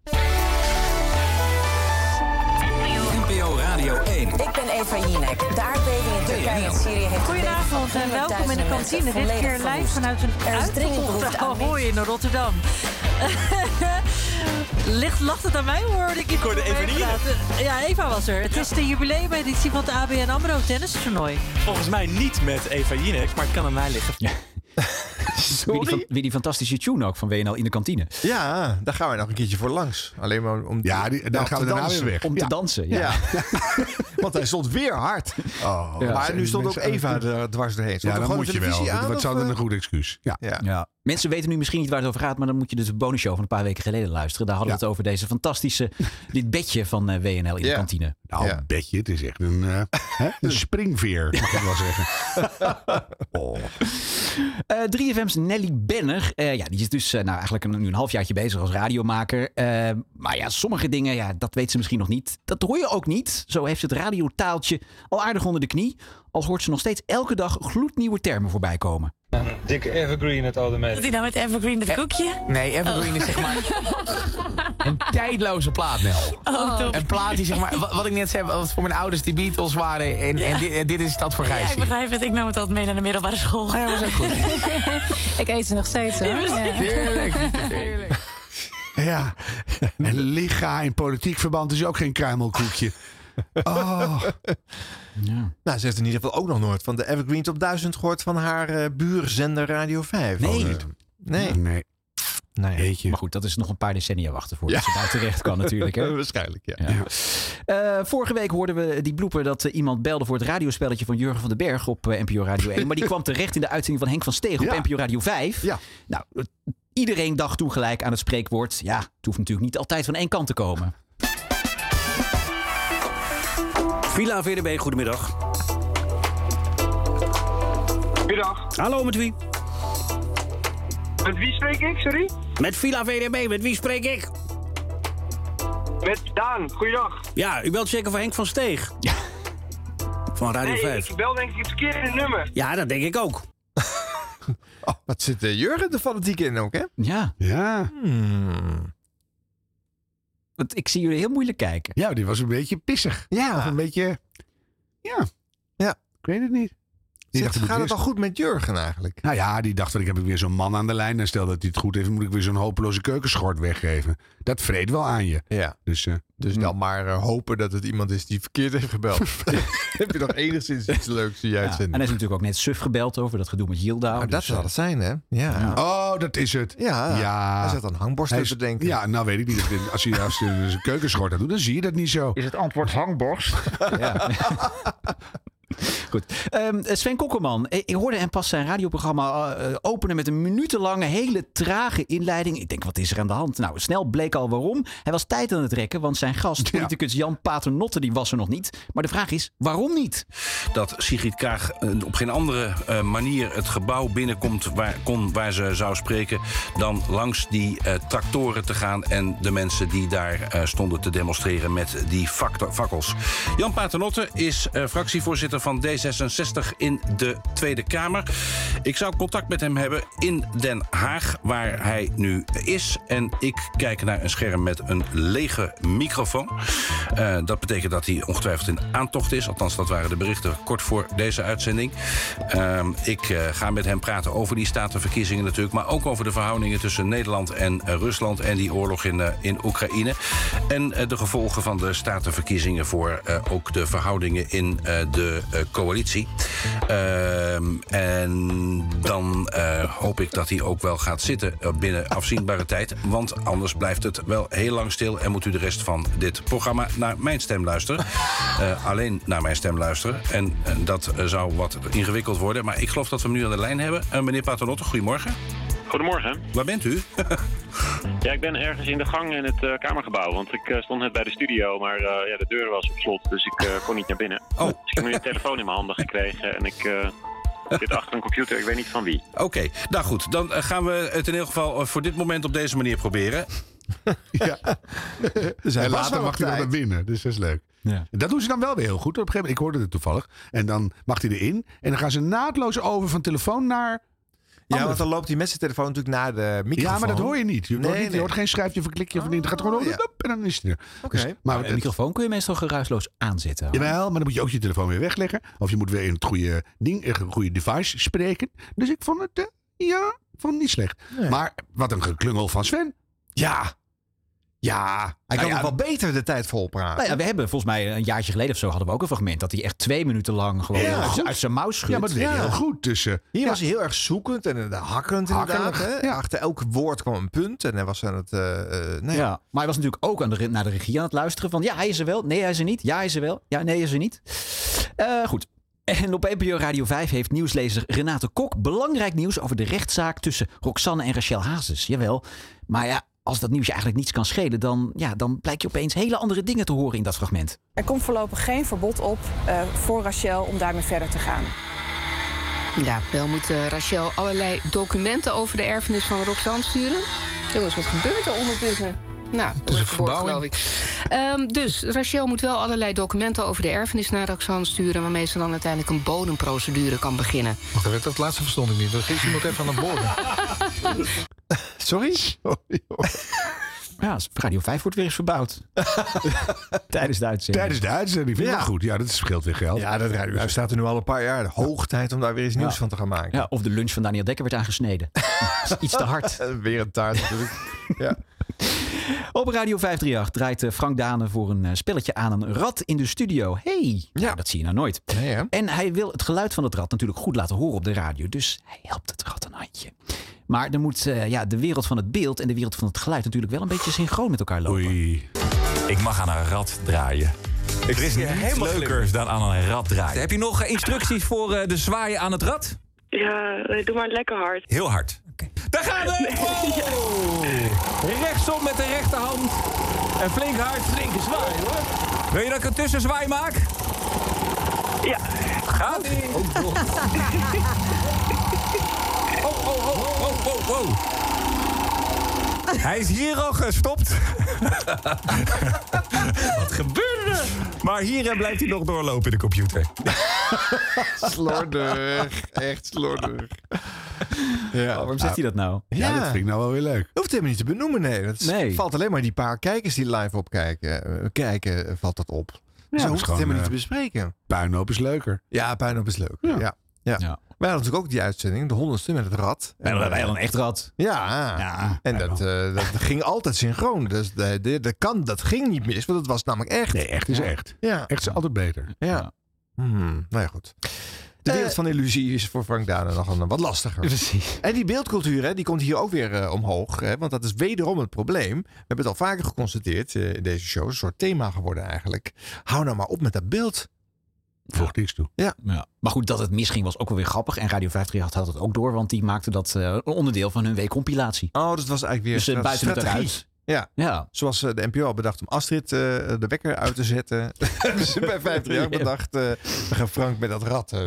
Speaker 4: NPO Radio 1.
Speaker 23: Ik ben Eva Jinek. De aardbeving in Turkije en Syrië heeft
Speaker 24: Goedenavond en welkom in de kantine. Dit keer live vanuit een
Speaker 23: Er is dringend behoefte
Speaker 24: uitverkochte
Speaker 23: aan
Speaker 24: Ahoy in Rotterdam. *laughs* Ligt, lacht het aan mij, hoorde ik iemand
Speaker 23: hoorde
Speaker 24: op de
Speaker 23: Eva
Speaker 24: weg
Speaker 23: Nienek.
Speaker 24: praten. Ja, Eva was er. Het is de jubileumeditie van het ABN AMRO tennistoernooi.
Speaker 25: Volgens mij niet met Eva Jinek, maar het kan aan mij liggen.
Speaker 3: Weer die, fan- weer die fantastische tune ook van WNL in de kantine.
Speaker 2: Ja, daar gaan wij nog een keertje voor langs. Alleen maar om
Speaker 1: Ja, die- daar
Speaker 2: om
Speaker 1: gaan
Speaker 2: te
Speaker 1: we daarna
Speaker 2: dansen.
Speaker 1: weer weg.
Speaker 3: Om te
Speaker 2: Ja.
Speaker 3: dansen, ja.
Speaker 2: Want hij stond weer hard.
Speaker 1: Oh,
Speaker 2: Ja. Maar nu stond ook
Speaker 1: mensen-
Speaker 2: Eva er dwars doorheen. Stond
Speaker 1: Ja,
Speaker 2: er
Speaker 1: dan
Speaker 2: gewoon
Speaker 1: moet
Speaker 2: de
Speaker 1: je wel.
Speaker 2: televisie aan,
Speaker 1: dat
Speaker 2: of,
Speaker 1: zou
Speaker 2: eh?
Speaker 1: dan een goed excuus. Ja.
Speaker 2: Ja.
Speaker 3: Mensen weten nu misschien niet waar het over gaat, maar dan moet je dus de bonusshow van een paar weken geleden luisteren. Daar hadden we het over deze fantastische, *laughs* dit bedje van eh, WNL in de
Speaker 1: Ja.
Speaker 3: kantine.
Speaker 1: Nou, bedje, het is echt een,
Speaker 2: *laughs*
Speaker 1: eh, hè, een springveer, mag ik wel zeggen.
Speaker 3: Eh, 3FM's Nelly Benner, eh, ja, die is dus eh, nou, eigenlijk een, nu een halfjaartje bezig als radiomaker. Eh, maar ja, sommige dingen, ja, dat weet ze misschien nog niet. Dat hoor je ook niet. Zo heeft ze het radiotaaltje al aardig onder de knie. Al hoort ze nog steeds elke dag gloednieuwe termen voorbij komen.
Speaker 26: Dikke evergreen het oude
Speaker 24: Doet hij nou met Evergreen het koekje?
Speaker 26: Nee, evergreen is zeg maar een tijdloze plaat, Nel.
Speaker 24: Oh, top.
Speaker 26: Een plaat die zeg maar, wa- wat ik net zei, wat voor mijn ouders die Beatles waren en, en, dit, en dit is dat voor
Speaker 24: Ja, ik
Speaker 26: Gijs.
Speaker 24: begrijp het. Ik nam het altijd mee naar de middelbare school. Ja, was ook goed. ik eet ze nog steeds, hoor.
Speaker 26: Heerlijk.
Speaker 1: Ja, en liga in politiek verband is ook geen kruimelkoekje. Oh.
Speaker 2: Nou, ze heeft in ieder geval ook nog nooit van de Evergreen Top 1000 gehoord van haar eh, buurzender Radio 5.
Speaker 3: Nee.
Speaker 2: Eh, *laughs* nee. Nou
Speaker 1: Nee.
Speaker 3: Maar goed, dat is nog een paar decennia wachten voordat
Speaker 2: Ja.
Speaker 3: ze daar terecht kan natuurlijk. Hè?
Speaker 2: *laughs* Waarschijnlijk, ja.
Speaker 3: Eh, vorige week hoorden we die blooper dat eh, iemand belde voor het radiospelletje van Jurgen van den Berg op eh, NPO Radio
Speaker 2: *laughs*
Speaker 3: 1. Maar die kwam terecht in de uitzending van Henk van Steeg op NPO Radio 5. Nou, eh, iedereen dacht toen gelijk aan het spreekwoord. Ja, het hoeft natuurlijk niet altijd van één kant te komen.
Speaker 27: Villa VDB, goedemiddag.
Speaker 28: Goedemiddag.
Speaker 27: Hallo, met wie?
Speaker 28: Met wie spreek ik, sorry?
Speaker 27: Met Villa VDB, met wie spreek ik?
Speaker 28: Met Daan, goeiedag.
Speaker 27: Ja, u belt zeker voor Henk van Steeg. Van Radio
Speaker 28: nee,
Speaker 27: 5.
Speaker 28: ik bel denk ik het verkeerde nummer.
Speaker 27: Ja, dat denk ik ook.
Speaker 2: Wat zit eh, Jurgen de fanatiek in ook, hè?
Speaker 3: Ja.
Speaker 1: Ja.
Speaker 3: Want ik zie jullie heel moeilijk kijken.
Speaker 1: Ja, die was een beetje pissig.
Speaker 2: Ja.
Speaker 1: Of een beetje... Ja.
Speaker 2: Ja.
Speaker 1: Ik weet het niet.
Speaker 2: Zit-
Speaker 1: dacht, ik moet
Speaker 2: gaat het
Speaker 1: eerst-
Speaker 2: al goed met Jurgen eigenlijk?
Speaker 1: Nou ja, die dacht, ik heb weer zo'n man aan de lijn. En stel dat hij het goed heeft, moet ik weer zo'n hopeloze keukenschort weggeven. Dat vreet wel aan je.
Speaker 2: Ja.
Speaker 1: Dus,
Speaker 2: dus dan maar eh, hopen dat het iemand is die verkeerd heeft *laughs* gebeld. Heb je nog enigszins iets leuks in je
Speaker 3: Ja. En
Speaker 2: uitzending?
Speaker 3: hij is natuurlijk ook net suf gebeld over dat gedoe met Yilda. Dus,
Speaker 2: dat zal het zijn, hè? Ja.
Speaker 1: Oh, dat is het.
Speaker 2: Ja. Ah,
Speaker 1: ja.
Speaker 2: Hij zat aan hangborst
Speaker 1: Hij
Speaker 2: te
Speaker 1: is-
Speaker 2: bedenken.
Speaker 1: Ja, nou weet ik niet. Als je, als je zijn keukenschort aan doet, dan zie je dat niet zo. Is
Speaker 27: het antwoord
Speaker 3: *laughs*
Speaker 27: hangborst?
Speaker 3: Goed. Ehm, eh, Sven Kokkelman, eh, ik hoorde hem pas zijn radioprogramma eh, eh, openen met een minutenlange, hele trage inleiding. Ik denk, wat is er aan de hand? Nou, snel bleek al waarom. Hij was tijd aan het rekken, want zijn gast, politicus Jan Paternotte, die was er nog niet. Maar de vraag is, waarom niet?
Speaker 27: dat Sigrid Kaag eh, op geen andere eh, manier het gebouw binnenkomt waar, kon, waar ze zou spreken. dan langs die eh, tractoren te gaan en de mensen die daar eh, stonden te demonstreren met die fak- fakkels. Jan Paternotte is eh, fractievoorzitter van D66 in de Tweede Kamer. Ik zou contact met hem hebben in Den Haag, waar hij nu is. En ik kijk naar een scherm met een lege microfoon. Eh, dat betekent dat hij ongetwijfeld in aantocht is. Althans, dat waren de berichten kort voor deze uitzending. Ehm, ik eh, ga met hem praten over die statenverkiezingen natuurlijk. Maar ook over de verhoudingen tussen Nederland en eh, Rusland. En die oorlog in, eh, in Oekraïne. En eh, de gevolgen van de statenverkiezingen voor eh, ook de verhoudingen in eh, de eh, coalitie. Ehm, en dan eh, hoop ik dat hij ook wel gaat zitten eh, binnen afzienbare tijd. Want anders blijft het wel heel lang stil. En moet u de rest van dit programma naar mijn stem luisteren. Eh, alleen naar mijn stem luisteren. En eh, dat eh, zou wat ingewikkeld worden. Maar ik geloof dat we hem nu aan de lijn hebben. Eh, meneer Paternotte, goedemorgen.
Speaker 28: Goedemorgen.
Speaker 27: Waar bent u? *laughs*
Speaker 28: Ja, ik ben ergens in de gang in het eh, kamergebouw. Want ik eh, stond net bij de studio, maar eh, ja, de deur was op slot. Dus ik eh, kon niet naar binnen.
Speaker 27: Oh.
Speaker 28: Dus ik heb nu een telefoon in mijn handen gekregen. En ik eh, zit achter een computer, ik weet niet van wie.
Speaker 27: Oké, nou goed. Dan eh, gaan we het in ieder geval eh, voor dit moment op deze manier proberen.
Speaker 1: Dus
Speaker 27: hij
Speaker 1: en later
Speaker 27: later mag
Speaker 1: mag hij
Speaker 27: hij-
Speaker 1: dan naar binnen. Dus dat is leuk. En Dat doen ze dan wel weer heel goed. Op een gegeven moment, ik hoorde het toevallig. En dan mag hij erin. En dan gaan ze naadloos over van telefoon naar...
Speaker 2: Ja, want dan loopt die met zijn telefoon natuurlijk naar de microfoon.
Speaker 1: Ja, maar dat hoor je niet. Je, hoort,
Speaker 2: Nee,
Speaker 1: niet, je
Speaker 2: nee. Oh.
Speaker 1: hoort geen schrijfje of een klikje of niet. Het gaat gewoon op en dan is het er. Dus,
Speaker 2: Oké.
Speaker 1: maar
Speaker 3: Maar
Speaker 1: het-
Speaker 3: een Dus, eh, microfoon kun je meestal geruisloos aanzetten.
Speaker 1: Jawel, maar dan moet je ook je telefoon weer wegleggen. Of je moet weer in het goede ding, eh, goede device spreken. Dus ik vond het, eh, ja, ik vond het niet slecht. Maar wat een geklungel van Sven.
Speaker 2: Ja. Ja. Hij kan
Speaker 3: ja,
Speaker 2: nog wel beter de tijd volpraten.
Speaker 3: Nou ja, we hebben volgens mij een jaartje geleden of zo hadden we ook een fragment dat hij echt twee minuten lang gewoon
Speaker 2: Ja.
Speaker 3: uit- uit zijn mouw schudt.
Speaker 2: Ja, maar dat deed hij heel
Speaker 1: goed. Dus, eh, tussen.
Speaker 2: Hier was hij heel erg zoekend en eh, hakkerend
Speaker 3: Hakkerig,
Speaker 2: inderdaad. Hè? Achter elk woord kwam een punt en hij was aan het... eh, eh, nee.
Speaker 3: Ja, maar hij was natuurlijk ook aan de, re- naar de regie aan het luisteren van... ja, hij is er wel, nee, hij is er niet, ja, hij is er wel, ja, nee, hij is er niet. Eh, goed. En op NPO Radio 5 heeft nieuwslezer Renate Kok... belangrijk nieuws over de rechtszaak tussen Roxanne en Rachel Hazes. Jawel, maar ja, als dat nieuws je eigenlijk niets kan schelen... dan, ja, dan blijkt je opeens hele andere dingen te horen in dat fragment.
Speaker 7: Er komt voorlopig geen verbod op eh, voor Rachel om daarmee verder te gaan.
Speaker 20: Ja, wel moet eh, Rachel allerlei documenten over de erfenis van Roxanne sturen. Jongens, wat gebeurt er ondertussen? Nou, dat is een geloof ik. Ehm, dus Rachel moet wel allerlei documenten over de erfenis naar Roxanne sturen... waarmee ze dan uiteindelijk een bodemprocedure kan beginnen.
Speaker 22: Wacht even, dat laatste verstond ik niet. Er ging iemand even aan het boren.
Speaker 2: *laughs* Sorry?
Speaker 3: Ja, Radio 5 wordt weer eens verbouwd. *laughs* Tijdens de uitzending.
Speaker 1: Tijdens de uitzending, vind ik
Speaker 2: Ja.
Speaker 1: dat goed. Ja, dat scheelt weer geld.
Speaker 2: Ja, dat Radio 5 staat er nu al een paar jaar. Hoog tijd om daar weer eens nieuws
Speaker 3: Ja.
Speaker 2: van te gaan maken.
Speaker 3: Ja, of de lunch van Daniel Dekker werd aangesneden. *laughs* Iets te hard.
Speaker 2: Eh, weer een
Speaker 1: *laughs*
Speaker 2: taart natuurlijk. ja.
Speaker 3: Op Radio 538 draait eh, Frank Dane voor een eh, spelletje aan een rat in de studio. hey, nou, dat zie je nou nooit. en hij wil het geluid van het rad natuurlijk goed laten horen op de radio. Dus hij helpt het rat een handje. Maar dan moet eh, ja, de wereld van het beeld en de wereld van het geluid natuurlijk wel een beetje synchroon met elkaar lopen.
Speaker 9: Ik mag aan een rat draaien. er is
Speaker 3: zie je
Speaker 9: niets
Speaker 3: helemaal
Speaker 9: leukers dan aan een rat draaien. Heb je nog eh, instructies voor eh, de zwaaien aan het rad?
Speaker 10: Ja, eh, doe maar lekker hard.
Speaker 9: Heel hard. Daar gaan we! *laughs* Oh! Rechtsom met de rechterhand. En flink hard, flinke zwaai hoor. Wil je dat ik een tussenzwaai maak? Ja. Gaat ie. Oh, oh, *laughs* oh, oh, oh, oh, oh. Hij is hier al gestopt. *laughs* Wat gebeurde er? Maar hier eh, blijft hij nog doorlopen in de computer.
Speaker 2: slordig. Echt slordig. Ja.
Speaker 3: waarom zegt hij dat nou?
Speaker 1: Ja, dat vind ik nou wel weer leuk.
Speaker 2: Hoeft helemaal niet te benoemen, nee. Dat is-
Speaker 1: Nee.
Speaker 2: valt alleen maar die paar kijkers die live opkijken. eh, Kijken, eh, valt dat op.
Speaker 1: Ja,
Speaker 2: Zo
Speaker 1: dat is
Speaker 2: hoeft het
Speaker 1: gewoon,
Speaker 2: helemaal niet
Speaker 1: eh,
Speaker 2: te bespreken.
Speaker 1: Puinhoop is leuker.
Speaker 2: Ja, Puinhoop is leuk. Ja. Ja. Wij hadden natuurlijk ook die uitzending, de honderdste met het rad.
Speaker 3: Wij hadden- wij hadden een echt rad.
Speaker 2: Ja, en dat, eh, dat *laughs* ging altijd synchron. Dus de, de, de kan, dat ging niet mis, want dat was namelijk echt. Nee,
Speaker 1: echt is echt.
Speaker 2: Ja.
Speaker 1: Echt is altijd beter.
Speaker 2: Ja. Hmm, nou ja, goed. De wereld van illusie is voor Frank Dane nog een wat lastiger.
Speaker 3: Eh, Precies.
Speaker 2: En die beeldcultuur hè, die komt hier ook weer eh, omhoog. Hè, want dat is wederom het probleem. We hebben het al vaker geconstateerd eh, in deze show. Een soort thema geworden eigenlijk. Hou nou maar op met dat beeld.
Speaker 1: Voegt niks toe.
Speaker 2: Ja.
Speaker 3: Maar goed, dat het misging was ook wel weer grappig. En Radio 538 had het ook door, want die maakte dat eh, een onderdeel van hun weekcompilatie.
Speaker 2: Oh, dat was eigenlijk weer
Speaker 3: Dus eh,
Speaker 2: een
Speaker 3: buiten het
Speaker 2: strategie.
Speaker 3: eruit.
Speaker 2: Ja.
Speaker 3: ja,
Speaker 2: zoals eh, de NPO al bedacht om Astrid eh, de wekker uit te zetten. *laughs* Hebben ze bij 50 jaar bedacht, eh, we gaan Frank met dat rat. eh.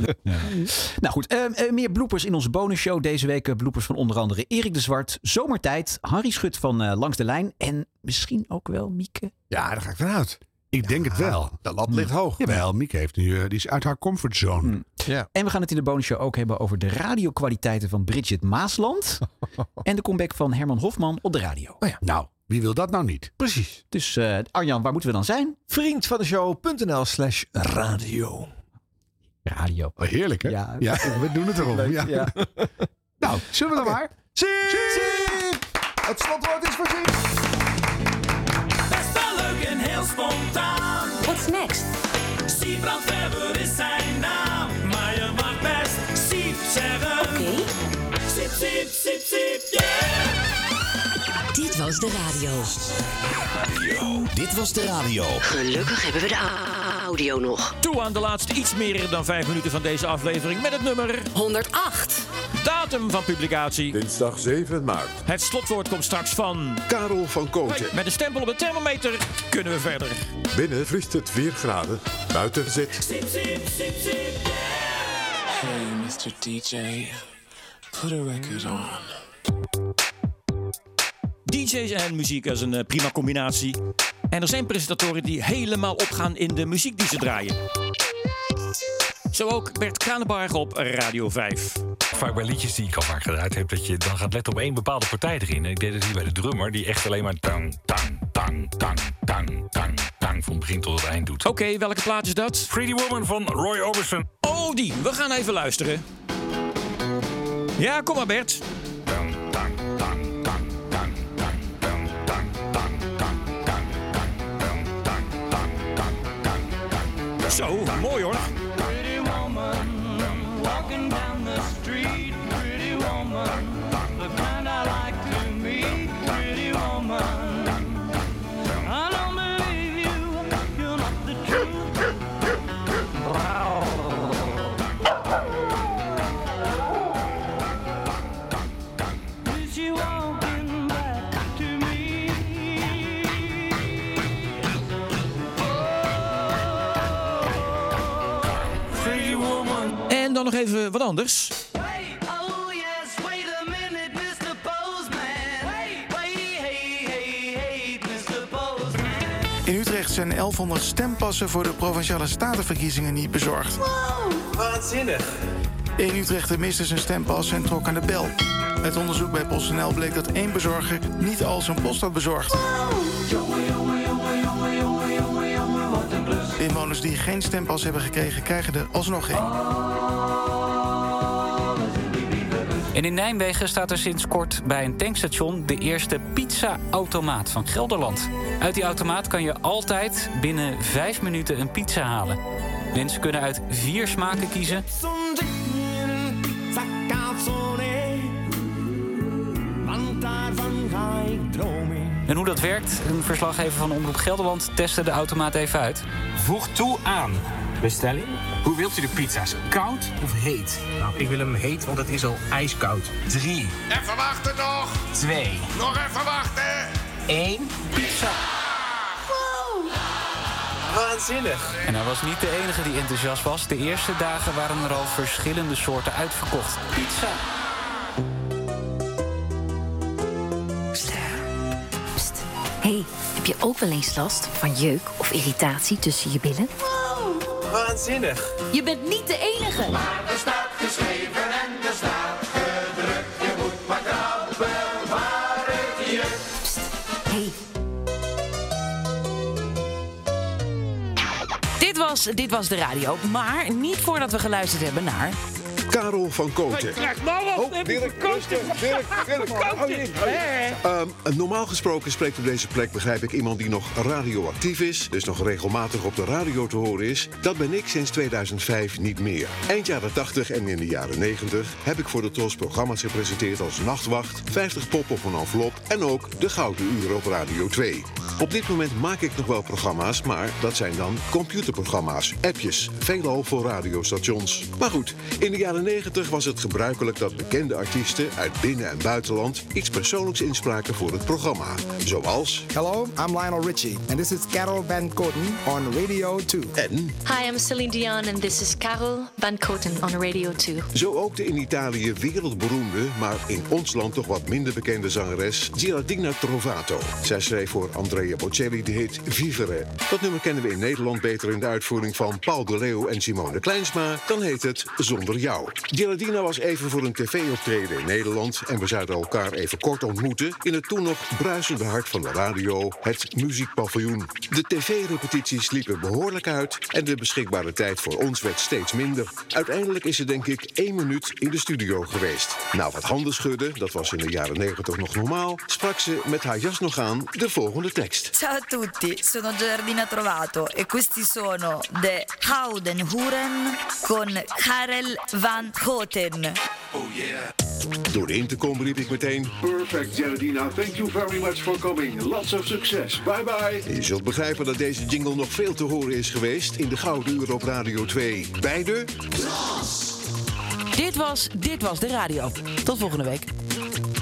Speaker 3: Nou goed, ehm, eh, meer bloepers in onze bonusshow deze week. eh, Bloepers van onder andere Erik de Zwart, Zomertijd, Harry Schut van eh, Langs de Lijn en misschien ook wel Mieke.
Speaker 2: Ja, daar ga ik vanuit.
Speaker 29: Ik denk het wel. De lat ligt hoog. Jawel, Mieke heeft nu, eh, die is uit haar comfortzone.
Speaker 3: En we gaan het in de bonusshow ook hebben over de radiokwaliteiten van Bridget Maasland. en de comeback van Herman Hofman op de radio.
Speaker 29: Nou, wie wil dat nou niet?
Speaker 3: Precies. Dus eh, Arjan, waar moeten we dan zijn?
Speaker 1: Vriend van de show.nl slash radio.
Speaker 3: Radio.
Speaker 29: heerlijk, hè?
Speaker 1: Ja.
Speaker 29: we doen het erom. Ja. *laughs* Nou, zullen we dan maar?
Speaker 1: Het slotwoord is voor Siep.
Speaker 11: Best wel leuk en heel spontaan. What's next? Siebrand Weber is zijn naam. Maar je mag best Siep zeggen. Oké. Siep, Siep, Siep, Siep, yeah.
Speaker 30: Dit was de radio. Dit was de radio.
Speaker 6: Gelukkig hebben we de a- audio nog.
Speaker 11: Toe aan de laatste iets meer dan 5 minuten van deze aflevering met het nummer 108. Datum van publicatie. Dinsdag 7 maart. Het slotwoord komt straks van Karel van Kooten. Met een stempel op de thermometer kunnen we verder.
Speaker 31: Binnen vriest het 4 graden, buiten zit.
Speaker 11: Sip, sip, sip, sip.
Speaker 12: Hey, Mr. DJ, put a record on.
Speaker 11: DJ's en muziek is een eh, prima combinatie. En er zijn presentatoren die helemaal opgaan in de muziek die ze draaien. Zo ook Bert Kranenbarg op Radio 5.
Speaker 8: Vaak bij liedjes die ik al vaak gedraaid heb, dat je dan gaat letten op één bepaalde partij erin. En ik deed het hier bij de drummer, die echt alleen maar tang, tang, tang, tang, tang, tang, tang van begin tot het eind doet.
Speaker 11: Oké, welke plaat is dat?
Speaker 8: Pretty Woman van Roy Orbison.
Speaker 11: Oh, die. We gaan even luisteren. Ja, kom maar Bert. Zo, mooi hoor.
Speaker 12: Pretty woman, walking down the street. Pretty woman, the kind I like to meet. Pretty woman, I don't believe you. You're not the truth. Is she walking back to
Speaker 11: Pretty woman. En dan nog even wat anders.
Speaker 12: Oh yes, wait a minute, Mr. Postman. Wait, wait, hey, hey, hey, Mr. Postman.
Speaker 22: In Utrecht zijn 1100 stempassen voor de provinciale statenverkiezingen niet bezorgd.
Speaker 12: Waanzinnig.
Speaker 22: In Utrecht miste zijn stempas en trok aan de bel. Het onderzoek bij PostNL bleek dat één bezorger niet al zijn post had bezorgd. Inwoners die geen stempas hebben gekregen, krijgen er alsnog één.
Speaker 19: En in Nijmegen staat er sinds kort bij een tankstation de eerste pizza-automaat van Gelderland. Uit die automaat kan je altijd binnen vijf minuten een pizza halen. Mensen kunnen uit vier smaken kiezen.
Speaker 12: Want daarvan ga ik dromen.
Speaker 19: En hoe dat werkt, een verslaggever van Omroep Gelderland testte de automaat even uit.
Speaker 5: Voeg toe aan bestelling. Hoe wilt u de pizza's? Koud of heet? Nou, ik wil hem heet, want het is al ijskoud. Drie,
Speaker 12: Even wachten nog.
Speaker 5: twee,
Speaker 12: Nog even wachten.
Speaker 5: één.
Speaker 19: Pizza!
Speaker 5: Waanzinnig.
Speaker 19: En hij was niet de enige die enthousiast was. De eerste dagen waren er al verschillende soorten uitverkocht. Pizza!
Speaker 6: hey, heb je ook wel eens last van jeuk of irritatie tussen je billen?
Speaker 5: Waanzinnig.
Speaker 6: Je bent niet de enige.
Speaker 12: Maar er staat geschreven en er staat gedrukt. Je moet maar krabben waar het je.
Speaker 5: Dit was, dit was de radio, maar niet voordat we geluisterd hebben naar...
Speaker 32: Karel van Kooten.
Speaker 5: Oh, Dirk, rustig, Dirk, Dirk.
Speaker 32: Oh, Ehm, normaal gesproken spreekt op deze plek, begrijp ik, iemand die nog radioactief is, dus nog regelmatig op de radio te horen is. Dat ben ik sinds 2005 niet meer. Eind jaren 80 en in de jaren 90 heb ik voor de TOS programma's gepresenteerd als Nachtwacht, 50 pop op een envelop en ook De Gouden Uren op Radio 2. Op dit moment maak ik nog wel programma's, maar dat zijn dan computerprogramma's, appjes, veelal voor radiostations. Maar goed, in de jaren 90 was het gebruikelijk dat bekende artiesten uit binnen- en buitenland iets persoonlijks inspraken voor het programma. Zoals. Hello, I'm Lionel Richie and this is Carol Van Coten on Radio 2. En
Speaker 6: Hi, I'm Celine Dion and this is Carol Van Koten on Radio 2.
Speaker 32: zo ook de in Italië wereldberoemde, maar in ons land toch wat minder bekende zangeres Girardina Trovato. Zij schreef voor Andrea Andrea Bocelli, die heet Vivere. Dat nummer kennen we in Nederland beter in de uitvoering van Paul de Leeuw en Simone Kleinsma. Dan heet het Zonder Jou. Geraldina was even voor een tv-optreden in Nederland... en we zouden elkaar even kort ontmoeten... in het toen nog bruisende hart van de radio, het muziekpaviljoen. De tv-repetities liepen behoorlijk uit... en de beschikbare tijd voor ons werd steeds minder. Uiteindelijk is ze denk ik één minuut in de studio geweest. Na wat handen schudden, dat was in de jaren negentig nog normaal... sprak ze met haar jas nog aan de volgende tekst.
Speaker 4: Ciao a tutti, sono Giardina Trovato e questi sono The Houden Huren con Karel van Houten.
Speaker 32: Door de intercom riep ik meteen...
Speaker 5: Perfect, Geraldina. Thank you very much for coming. Lots of success. Bye bye.
Speaker 32: Je zult begrijpen dat deze jingle nog veel te horen is geweest... in de Gouden Uur op Radio 2. Beide
Speaker 8: Dit was, dit was de radio. Tot volgende week.